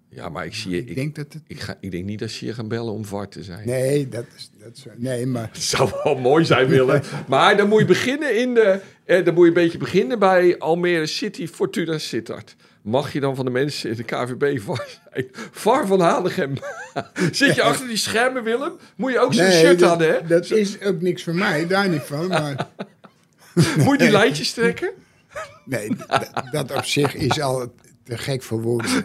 S2: ja, maar ik zie je.
S3: Ik
S2: Ik,
S3: denk dat het...
S2: ik, ga, ik denk niet dat ze je gaan bellen om VAR te zijn.
S3: Nee, dat is... Dat is nee, maar...
S2: Het zou wel mooi zijn, Willem. Maar dan moet je beginnen in de. Eh, dan moet je een beetje beginnen bij Almere City, Fortuna Sittard. Mag je dan van de mensen in de KVB VAR zijn? VAR van Hanegem. Zit je achter die schermen, Willem? Moet je ook zo'n
S3: Nee,
S2: shirt
S3: dat,
S2: aan, hè?
S3: dat is ook niks voor mij, daar niet van. Maar
S2: Moet je die lijntjes trekken?
S3: Nee, d- dat op zich is al te gek voor woorden.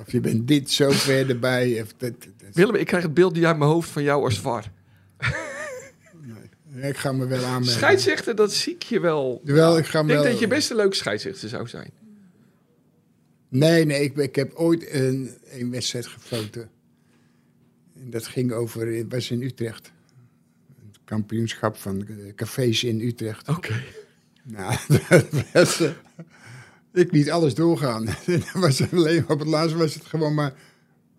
S3: Of je bent dit zo ver erbij. Of dat, dat-
S2: Willem, ik krijg het beeld niet uit mijn hoofd van jou als VAR.
S3: ik ga me wel aanmelden.
S2: Scheidsrechter, dat zie ik je wel.
S3: Jawel, ik ga
S2: Ik
S3: me
S2: denk
S3: wel-
S2: dat je best een leuke scheidsrechter zou zijn.
S3: Nee, nee, ik, ben- ik heb ooit een, een wedstrijd gefloten. En dat ging over, het was in Utrecht. Het kampioenschap van eh, cafés in Utrecht.
S2: Oké.
S3: Nou, dat was, eh, ik liet alles doorgaan. dat was alleen, op het laatst was het gewoon maar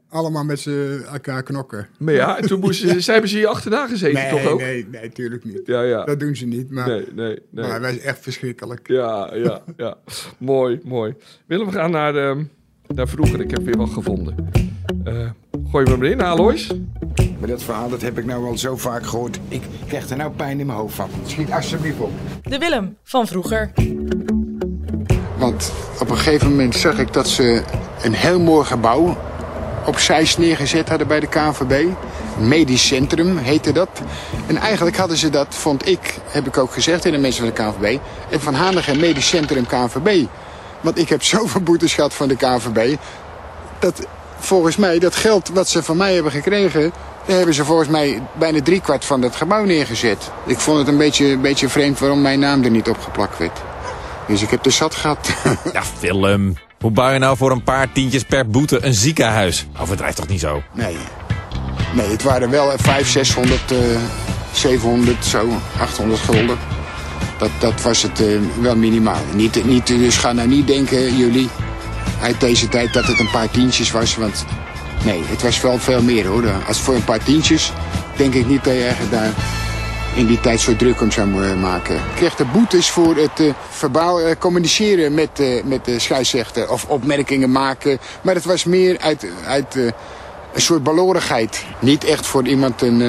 S3: allemaal met z'n elkaar knokken.
S2: Maar ja, en toen moesten ze, ze hebben ze hier achterna gezeten,
S3: nee,
S2: toch ook?
S3: nee, nee, tuurlijk niet.
S2: Ja, ja.
S3: Dat doen ze niet, maar,
S2: Nee, nee, nee.
S3: maar het was echt verschrikkelijk.
S2: Ja, ja, ja. mooi, mooi. Willem, we gaan naar, ehm, naar vroeger. Ik heb weer wat gevonden. Eh, gooi hem erin, Alois.
S6: Maar dat verhaal dat heb ik nou al zo vaak gehoord. Ik krijg er nou pijn in mijn hoofd van.
S3: Schiet alsjeblieft op.
S4: De Willem van vroeger.
S3: Want op een gegeven moment zag ik dat ze een heel mooi gebouw opzij neergezet hadden bij de KNVB. Medisch Centrum heette dat. En eigenlijk hadden ze dat, vond ik, heb ik ook gezegd in de mensen van de KNVB... en Van Hanegem Medisch Centrum KNVB. Want ik heb zoveel boetes gehad van de KNVB... dat volgens mij dat geld wat ze van mij hebben gekregen... daar hebben ze volgens mij bijna driekwart van dat gebouw neergezet. Ik vond het een beetje, een beetje vreemd waarom mijn naam er niet op geplakt werd. Dus ik heb de zat gehad.
S7: Ja, film. Hoe bouw je nou voor een paar tientjes per boete een ziekenhuis? Overdrijf toch niet zo?
S3: Nee. Nee, het waren wel 500, 600, eh 700, zo, 800 gulden. Dat, dat was het eh, wel minimaal. Niet, niet, dus ga nou niet denken, jullie, uit deze tijd dat het een paar tientjes was. Want nee, het was wel veel meer hoor. Als voor een paar tientjes, denk ik niet dat je echt daar in die tijd zo druk om zou eh, maken. Ik kreeg de boetes voor het eh, verbaal eh, communiceren met, eh, met de scheidsrechter. Of opmerkingen maken. Maar het was meer uit, uit eh, een soort balorigheid. Niet echt voor iemand een, eh,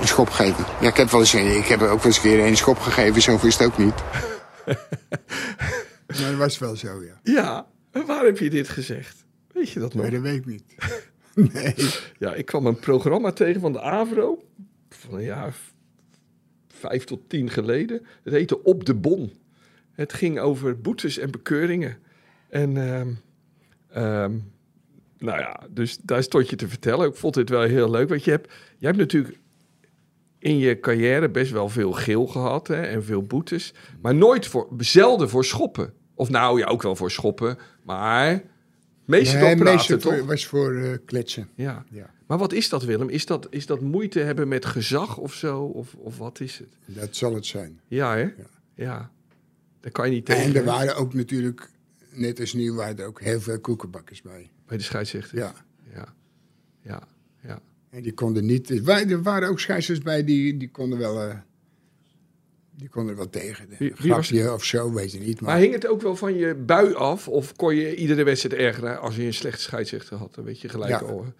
S3: een schop geven. Ja, ik heb, wel eens, een- ik heb ook wel eens een keer een schop gegeven. Zo is het ook niet. Maar dat was wel zo, ja.
S2: Ja, en waar heb je dit gezegd? Weet je dat nog?
S3: dat weet ik niet.
S2: Ja, ik kwam een programma tegen van de AVRO. Van een jaar v- vijf tot tien geleden. Het heette Op de Bon. Het ging over boetes en bekeuringen. En ehm, ehm, nou ja, dus daar stond je te vertellen. Ik vond dit wel heel leuk. Want je hebt, jij hebt natuurlijk in je carrière best wel veel geel gehad. Hè, en veel boetes. Maar nooit voor, zelden voor schoppen. Of nou ja, ook wel voor schoppen. Maar meestal
S3: Nee,
S2: praten
S3: meestal
S2: toch?
S3: voor- was voor eh, kletsen.
S2: Ja.
S3: Ja.
S2: Maar wat is dat, Willem? Is dat, is dat moeite hebben met gezag of zo? Of, of wat is het?
S3: Dat zal het zijn.
S2: Ja, hè? Ja. Daar kan je niet tegen.
S3: En er
S2: hè?
S3: waren ook natuurlijk, net als nu, waren er ook heel veel koekenbakkers bij.
S2: Bij de scheidsrechter.
S3: Ja.
S2: Ja. Ja. ja.
S3: En die konden niet. Er wa- er waren ook scheidsrechters bij die, die konden wel. eh, die konden er wel tegen.
S2: wie
S3: Een
S2: was-
S3: grapje of zo, weet je niet. Maar,
S2: Maar hing het ook wel van je bui af? Of kon je iedere wedstrijd ergeren als je een slechte scheidsrechter had? Dan weet je gelijk
S3: Ja.
S2: al. hè?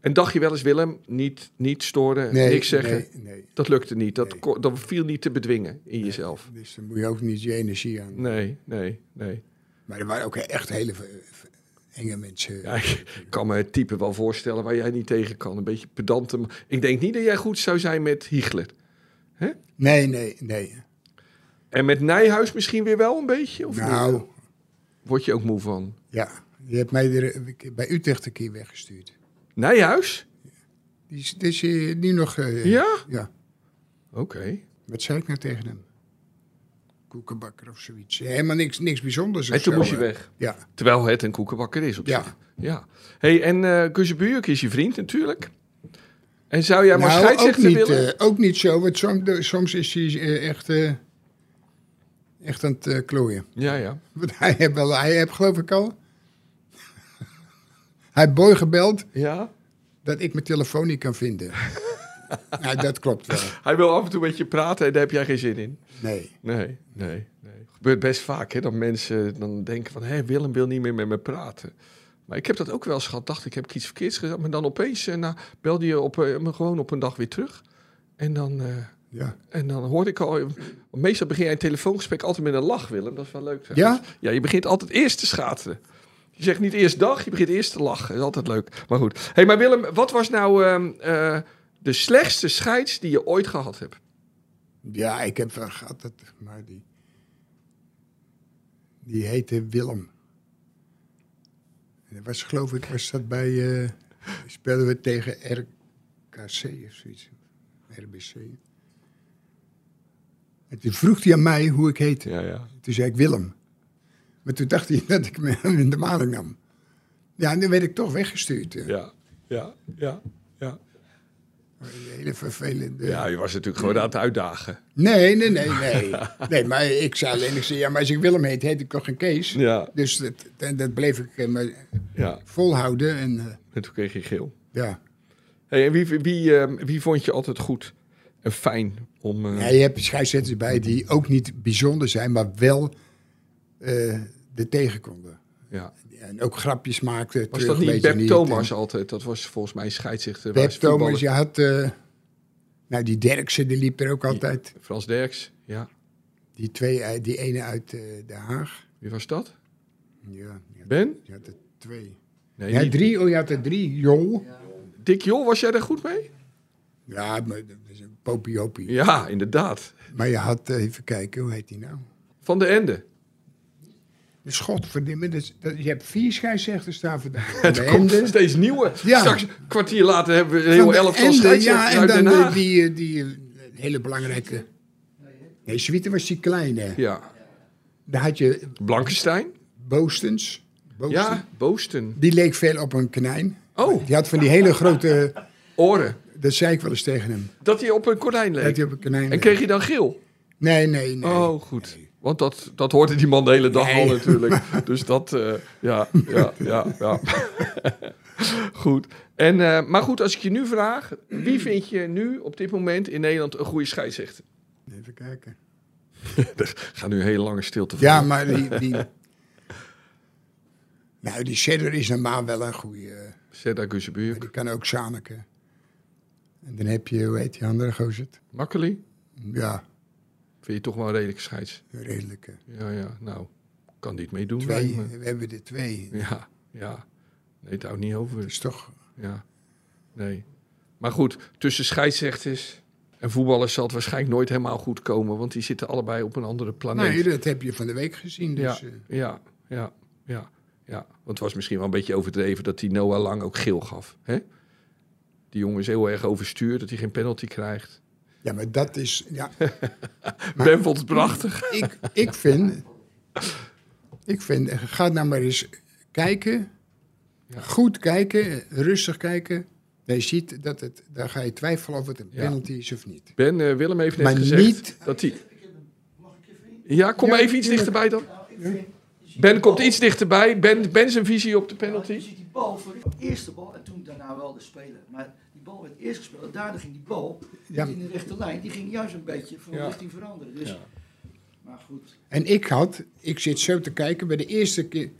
S2: En dacht je wel eens, Willem, niet, niet storen, niks zeggen?
S3: Nee, nee.
S2: Dat lukte niet. Dat,
S3: Nee.
S2: kon- dat viel niet te bedwingen in jezelf.
S3: Dus dan moet je ook niet je energie aan.
S2: Nee, nee, nee.
S3: Maar er waren ook echt hele ve- ve- enge mensen.
S2: Ja, ik kan me het type wel voorstellen waar jij niet tegen kan. Een beetje pedante. maar Ik denk niet dat jij goed zou zijn met Hiegler.
S3: Nee, nee, nee.
S2: En met Nijhuis misschien weer wel een beetje? Of niet?
S3: Nou,
S2: Word je ook moe van?
S3: ja. Je hebt mij er, bij Utrecht een keer weggestuurd.
S2: Nijhuis?
S3: Die is, die is eh, nu nog. eh,
S2: Ja?
S3: Ja.
S2: Oké.
S3: Wat zei ik nou tegen hem? Koekenbakker of zoiets. Helemaal niks, niks bijzonders. of
S2: En toen
S3: zo,
S2: moest je
S3: eh.
S2: weg.
S3: Ja.
S2: Terwijl het een koekenbakker is op
S3: Ja.
S2: zich. Ja. hey, en eh Kuzenbuurk is je vriend natuurlijk. En zou jij maar
S3: nou, ook
S2: scheidsrechter
S3: niet,
S2: willen?
S3: eh, ook niet zo, want soms, soms is hij eh, echt, eh, echt aan het eh, klooien.
S2: Ja, ja.
S3: Want hij heeft, wel, hij heeft geloof ik al... hij heeft Boy gebeld
S2: Ja?
S3: dat ik mijn telefoon niet kan vinden. nou, dat klopt wel.
S2: Hij wil af en toe met je praten en daar heb jij geen zin in.
S3: Nee.
S2: Nee, nee, nee. Gebeurt best vaak hè, dat mensen dan denken van... hé, Willem wil niet meer met me praten. Maar ik heb dat ook wel eens gehad. Dacht ik, heb ik iets verkeerds gedaan? Maar dan opeens eh, nou, belde je op, eh, me gewoon op een dag weer terug. En dan, eh,
S3: Ja.
S2: en dan hoorde ik al... Meestal begin jij een telefoongesprek altijd met een lach, Willem. Dat is wel leuk. zeg.
S3: Ja?
S2: Ja, je begint altijd eerst te schateren. Je zegt niet eerst dag, je begint eerst te lachen. Dat is altijd leuk. Maar goed. hey, maar Willem, wat was nou ehm, eh, de slechtste scheids die je ooit gehad hebt?
S8: Ja, ik heb wel gehad, dat, maar die... Die heette Willem. En dat was, geloof ik, was dat bij... eh, speelden we tegen RKC of zoiets. RBC. En toen vroeg hij aan mij hoe ik heette.
S2: Ja, ja.
S8: Toen zei ik Willem. Maar toen dacht hij dat ik me in de maling nam. Ja, en dan werd ik toch weggestuurd. Ja.
S2: Ja, ja, ja. Ja,
S8: Een hele vervelende...
S2: ja je was natuurlijk gewoon aan het uitdagen.
S8: Nee, nee, nee, nee. Nee, maar ik zei alleen, ik zei, ja, maar als ik Willem heet, heet ik toch geen Kees?
S2: Ja,
S8: Dus dat, dat, dat bleef ik eh, maar
S2: ja.
S8: volhouden. En eh,
S2: En toen kreeg je geel.
S8: ja,
S2: Hey, en wie, wie, ehm, wie vond je altijd goed en fijn om... eh,
S8: Ja, je hebt scheidsrechters bij die ook niet bijzonder zijn, maar wel eh er tegen konden.
S2: ja.
S8: En ook grapjes maakten.
S2: Was
S8: terug,
S2: dat niet
S8: weet je
S2: Beb Thomas
S8: En
S2: altijd? Dat was volgens mij een scheidsrechter.
S8: eh, Beb
S2: was voetballer.
S8: Thomas, je had... eh, nou, die Derksen, die liep er ook altijd.
S2: Frans Derks, ja.
S8: Die, twee, uit- die ene uit eh, Den Haag.
S2: Wie was dat?
S8: Ja, je had-
S2: Ben?
S8: je had er twee.
S2: Nee,
S8: Ja,
S2: niet.
S8: drie. Oh, je had er drie. Jol.
S2: Dick Jol, was jij daar goed mee?
S8: Ja, maar dat is een popiopie.
S2: Ja, inderdaad.
S8: Maar je had, eh, even kijken, hoe heet die nou?
S2: Van de Ende.
S8: De schot verdimmen. Dat, is- dat- je hebt vier scheidsrechters daar vandaag.
S2: Het komt steeds nieuwe.
S8: Ja.
S2: Straks, een kwartier later, hebben we een heel elftal
S8: Ja,
S2: scheidsrechters
S8: en
S2: uit
S8: dan
S2: Den
S8: eh,
S2: Haag.
S8: die, eh, die eh, hele belangrijke... Nee, Zwieter was die kleine.
S2: Ja.
S8: Daar had je
S2: Blankenstein.
S8: Boostens. Boostens.
S2: Ja, Boosten.
S8: Die leek veel op een konijn.
S2: Oh,
S8: Die had van die hele grote...
S2: oren.
S8: Dat zei ik wel eens tegen hem.
S2: Dat hij op een konijn
S8: Dat
S2: leek.
S8: hij op een konijn
S2: En
S8: leek.
S2: kreeg je dan geel?
S8: Nee, nee, nee.
S2: Oh, goed. Want dat, dat hoorde die man de hele dag
S8: Nee.
S2: al natuurlijk. Dus dat, eh, ja, ja, ja, ja. goed. En, eh, maar goed, als ik je nu vraag, wie vind je nu op dit moment in Nederland een goede scheidsrechter?
S8: Even kijken.
S2: Er gaat nu een hele lange stilte
S8: Ja,
S2: vallen.
S8: maar die... die nou, die Shedder is normaal wel een goede... eh,
S2: Zet daar
S8: Maar
S2: Guzebuur.
S8: die kan ook Zaneke. En dan heb je, hoe heet die andere gozer? het?
S2: Makkeli?
S8: Ja,
S2: Vind je toch wel een redelijke scheids?
S8: een redelijke.
S2: Ja, ja, nou, kan niet meedoen.
S8: Twee,
S2: lijkt me.
S8: we hebben er twee.
S2: Ja, ja. Nee, het houdt niet
S8: Dat
S2: over.
S8: is toch...
S2: Ja, nee. Maar goed, tussen scheidsrechters en voetballers zal het waarschijnlijk nooit helemaal goed komen. Want die zitten allebei op een andere planeet.
S8: Nee, dat heb je van de week gezien. Dus,
S2: Ah, ja,
S8: eh,
S2: ja, ja, ja, ja. Want het was misschien wel een beetje overdreven dat die Noah Lang ook geel gaf. Hè? Die jongen is heel erg overstuurd, dat hij geen penalty krijgt.
S8: ja, maar dat is... Ja,
S2: Ben vond het prachtig.
S8: ik, ik vind... Ik vind, ga nou maar eens kijken.
S2: Ja.
S8: Goed kijken, rustig kijken. Dan je ziet dat het... Dan ga je twijfelen of het een
S2: Ja.
S8: penalty is of niet.
S2: Ben, eh, Willem heeft net
S8: Maar
S2: gezegd
S8: niet-
S2: dat hij... Ja, kom
S8: Ja,
S2: maar even iets
S8: tuurlijk.
S2: dichterbij dan. Ben komt iets dichterbij. Ben, ben zijn visie op de
S9: Je
S2: penalty.
S9: ziet die bal voor de eerste bal en toen daarna wel de speler. Maar die bal werd eerst gespeeld en daarna ging die bal
S8: Ja.
S9: niet in de rechte lijn. Die ging juist een beetje van
S2: Ja.
S9: richting veranderen. Dus, Maar goed,
S8: En ik had, ik zit zo te kijken, bij de eerste keer,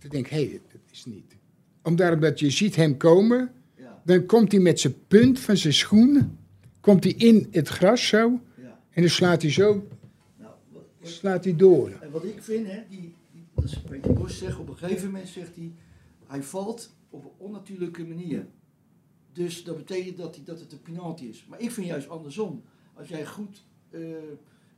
S8: ik denk, hé, hey, dat is niet. Omdat omdat je ziet hem komen,
S9: ja,
S8: dan komt hij met zijn punt van zijn schoen, komt hij in het gras zo,
S9: ja.
S8: en dan slaat hij zo,
S9: Nou, wat,
S8: slaat hij door.
S9: en wat ik vind, hè, die, die, dat is Peter Bos zegt, op een gegeven moment zegt hij, hij valt op een onnatuurlijke manier. Dus dat betekent dat, hij, dat het een penalty is. Maar ik vind juist andersom. Als jij goed eh,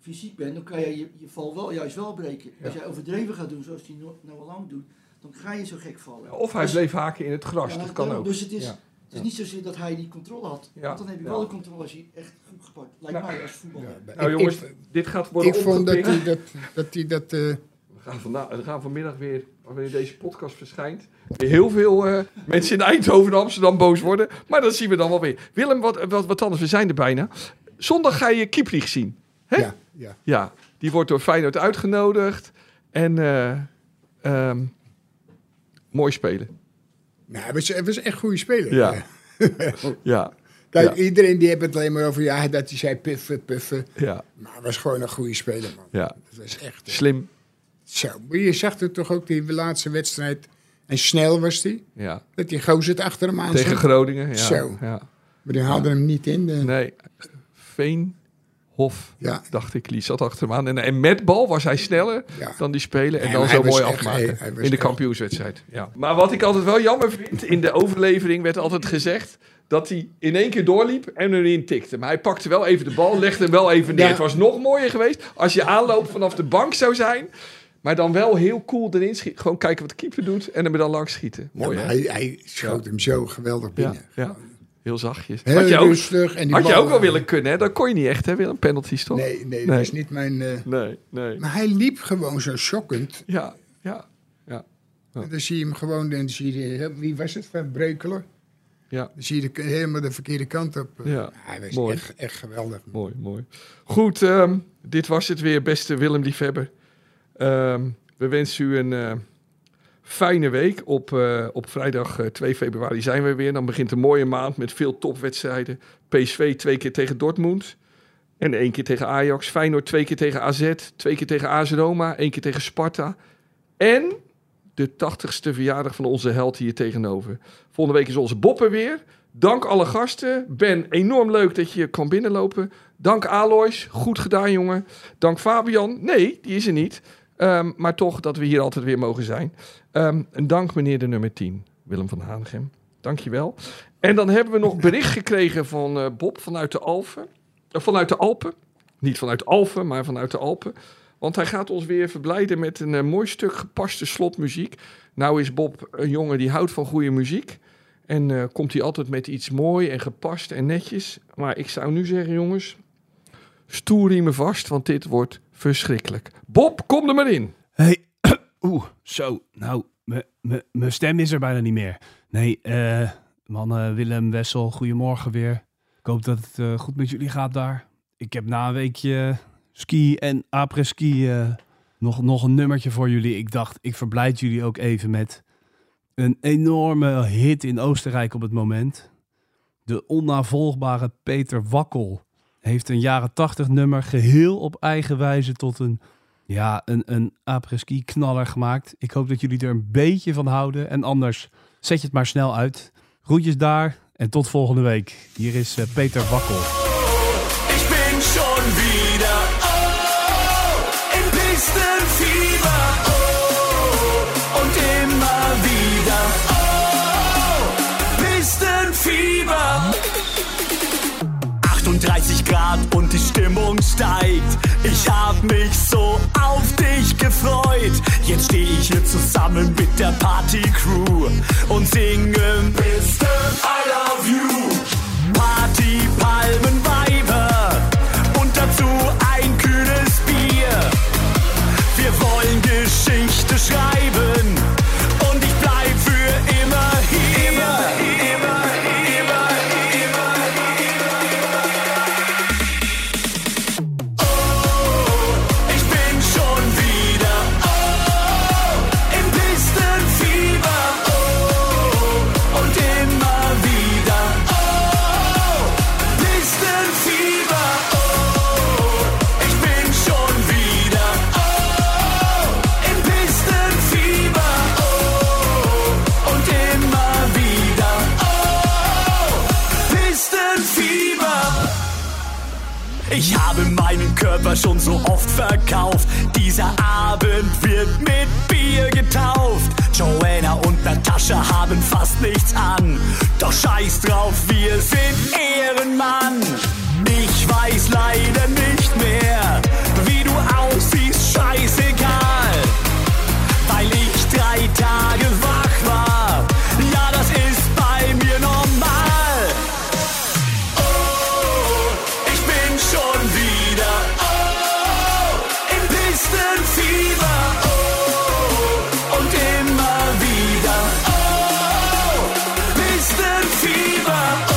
S9: fysiek bent, dan kan jij je, je val wel, juist wel breken. Als jij overdreven gaat doen, zoals hij no- nou al lang doet, dan ga je zo gek vallen.
S2: Of hij
S9: Dus-
S2: bleef haken in het gras,
S9: Ja,
S2: dat kan
S9: daarom.
S2: ook.
S9: Dus het is,
S2: Ja.
S9: het is niet zozeer dat hij die controle had.
S2: Ja.
S9: Want dan heb je
S2: Ja.
S9: wel de controle als je echt goed gepakt. Lijkt
S2: Nou,
S9: mij als voetballer.
S2: Nou
S8: Ik-
S2: jongens,
S8: ik,
S2: dit gaat worden
S8: ik vond dat
S2: opgepikt.
S8: hij dat, dat, hij dat eh,
S2: We gaan, vanda- we gaan vanmiddag weer, wanneer deze podcast verschijnt, weer heel veel eh, mensen in Eindhoven en Amsterdam boos worden. Maar dat zien we dan wel weer. Willem, wat, wat, wat anders, we zijn er bijna. Zondag ga je Kieprich zien. Hè?
S8: ja, ja.
S2: Ja, die wordt door Feyenoord uitgenodigd. En eh, ehm, mooi spelen.
S8: Nou, het was, het was echt goede speler.
S2: Ja. Ja,
S8: Kijk,
S2: Ja.
S8: iedereen die heeft het alleen maar over, ja, dat hij zei puffen, puffen.
S2: ja,
S8: Maar hij was gewoon een goede speler, man.
S2: ja.
S8: Dat was echt... eh,
S2: Slim.
S8: Zo, maar je zag het toch ook die laatste wedstrijd. En snel was die.
S2: Ja.
S8: Dat die gozer het achter hem aan
S2: Tegen
S8: zat.
S2: Groningen. Ja.
S8: Zo.
S2: Ja.
S8: Maar die haalde hem niet in. De,
S2: Nee, Veenhof.
S8: Ja,
S2: dacht ik, Lies zat achter hem aan. En, en met bal was hij sneller
S8: Ja.
S2: dan die spelen. En
S8: Nee,
S2: dan
S8: maar
S2: zo
S8: hij was
S2: mooi
S8: echt-
S2: afmaken
S8: hij- hij was
S2: in de
S8: echt-
S2: kampioenswedstrijd. Ja. Maar wat ik altijd wel jammer vind, in de overlevering werd altijd gezegd... dat hij in één keer doorliep en erin tikte. Maar hij pakte wel even de bal, legde hem wel even neer.
S3: Ja.
S2: Het was nog mooier geweest als je aanloop vanaf de bank zou zijn. Maar dan wel heel cool erin schieten. Gewoon kijken wat de keeper doet en hem er dan langs schieten.
S3: Ja,
S2: Mooi,
S3: maar
S2: hè?
S3: hij, hij schoot hem zo geweldig
S2: Ja,
S3: binnen.
S2: ja, heel zachtjes.
S3: Heel
S2: Had je ook,
S3: rustig. En die
S2: had je
S3: bal-
S2: ook wel willen kunnen, hè? Dat kon je niet echt, hè, Willem? Penalties, toch?
S3: Nee, nee, dat
S2: Nee.
S3: is niet mijn... eh,
S2: Nee, nee.
S3: Maar hij liep gewoon zo shockend.
S2: Ja, ja,
S3: En dan zie je hem gewoon... En dan zie je, eh, wie was het? Van Breukelen?
S2: Ja.
S3: Dan zie je de- helemaal de verkeerde kant op.
S2: Ja,
S3: Hij was
S2: mooi.
S3: echt, echt geweldig.
S2: mooi, mooi. Goed, ehm, dit was het weer, beste Willem Liefhebber. Ehm, we wensen u een eh, fijne week. Op, eh, op vrijdag eh, 2 februari zijn we weer. Dan begint een mooie maand met veel topwedstrijden. PSV twee keer tegen Dortmund. En één keer tegen Ajax. Feyenoord twee keer tegen AZ. Twee keer tegen AS Roma. één keer tegen Sparta. En de 80ste verjaardag van onze held hier tegenover. Volgende week is onze Bopper weer. Dank alle gasten. Ben, enorm leuk dat je kwam binnenlopen. Dank Alois, goed gedaan jongen. Dank Fabian, nee, die is er niet. Ehm, maar toch dat we hier altijd weer mogen zijn. Ehm, en dank meneer de nummer 10, Willem van Hanegem. Dankjewel. En dan hebben we nog bericht gekregen van eh, Bob vanuit de Alpen. Eh, vanuit de Alpen. Niet vanuit Alphen, maar vanuit de Alpen. Want hij gaat ons weer verblijden met een eh, mooi stuk gepaste slotmuziek. Nou is Bob een jongen die houdt van goede muziek. En eh, komt hij altijd met iets mooi en gepast en netjes. Maar ik zou nu zeggen, jongens, stoerriemen vast, want dit wordt verschrikkelijk. Bob, kom er maar in.
S10: Hey, oeh, zo. Nou, me- me- mijn stem is er bijna niet meer. Nee, eh, mannen, Willem, Wessel, goedemorgen weer. Ik hoop dat het eh, goed met jullie gaat daar. Ik heb na een weekje ski en après-ski eh, nog, nog een nummertje voor jullie. Ik dacht, ik verblijd jullie ook even met een enorme hit in Oostenrijk op het moment. De onnavolgbare Peter Wakkel heeft een jaren tachtig nummer geheel op eigen wijze tot een ja, een, een apres-ski knaller gemaakt. Ik hoop dat jullie er een beetje van houden. En anders zet je het maar snel uit. Groetjes daar en tot volgende week. Hier is eh, Peter Wakkel.
S9: Ich bin schon wieder oh, im Pistenfieber oh, und immer wieder oh, Pistenfieber. 38 Grad und die Stimmung steigt. Ich hab mich so auf dich gefreut. Jetzt stehe ich hier zusammen mit der Party-Crew und singe Mr. I love you. Party, Palmen, Weiber und dazu ein kühles Bier. Wir wollen Geschichte schreiben und ich bleib für immer hier. Immer, immer, immer, immer, immer. Oh, ich bin schon wieder oh, im Pistenfieber oh, und immer wieder oh, Pistenfieber oh, ich bin schon wieder oh, im Pistenfieber oh, und immer wieder oh, Pistenfieber ich habe meinen Körper schon so oft verkauft. Dieser Abend wird mit Bier getauft. Joanna und Natascha haben fast nichts an. Doch scheiß drauf, wir sind Ehrenmann. Ich weiß leider nicht mehr, wie du aussiehst, scheißegal. Weil ich drei Tage wach war. Ja, das ist bei mir normal. Ich bin schon wieder oh, im Pistenfieber oh, und immer wieder oh, Pistenfieber. Oh,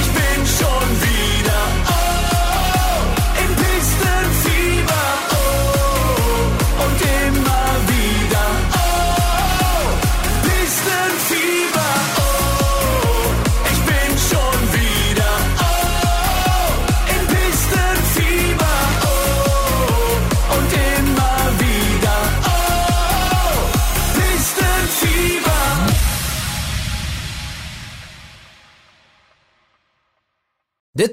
S9: ich bin schon wieder oh, im Pistenfieber oh, und immer wieder oh, Pistenfieber. Oh, ich bin schon wieder Oh, im Pistenfieber oh, und immer wieder oh, Pistenfieber.
S1: Dit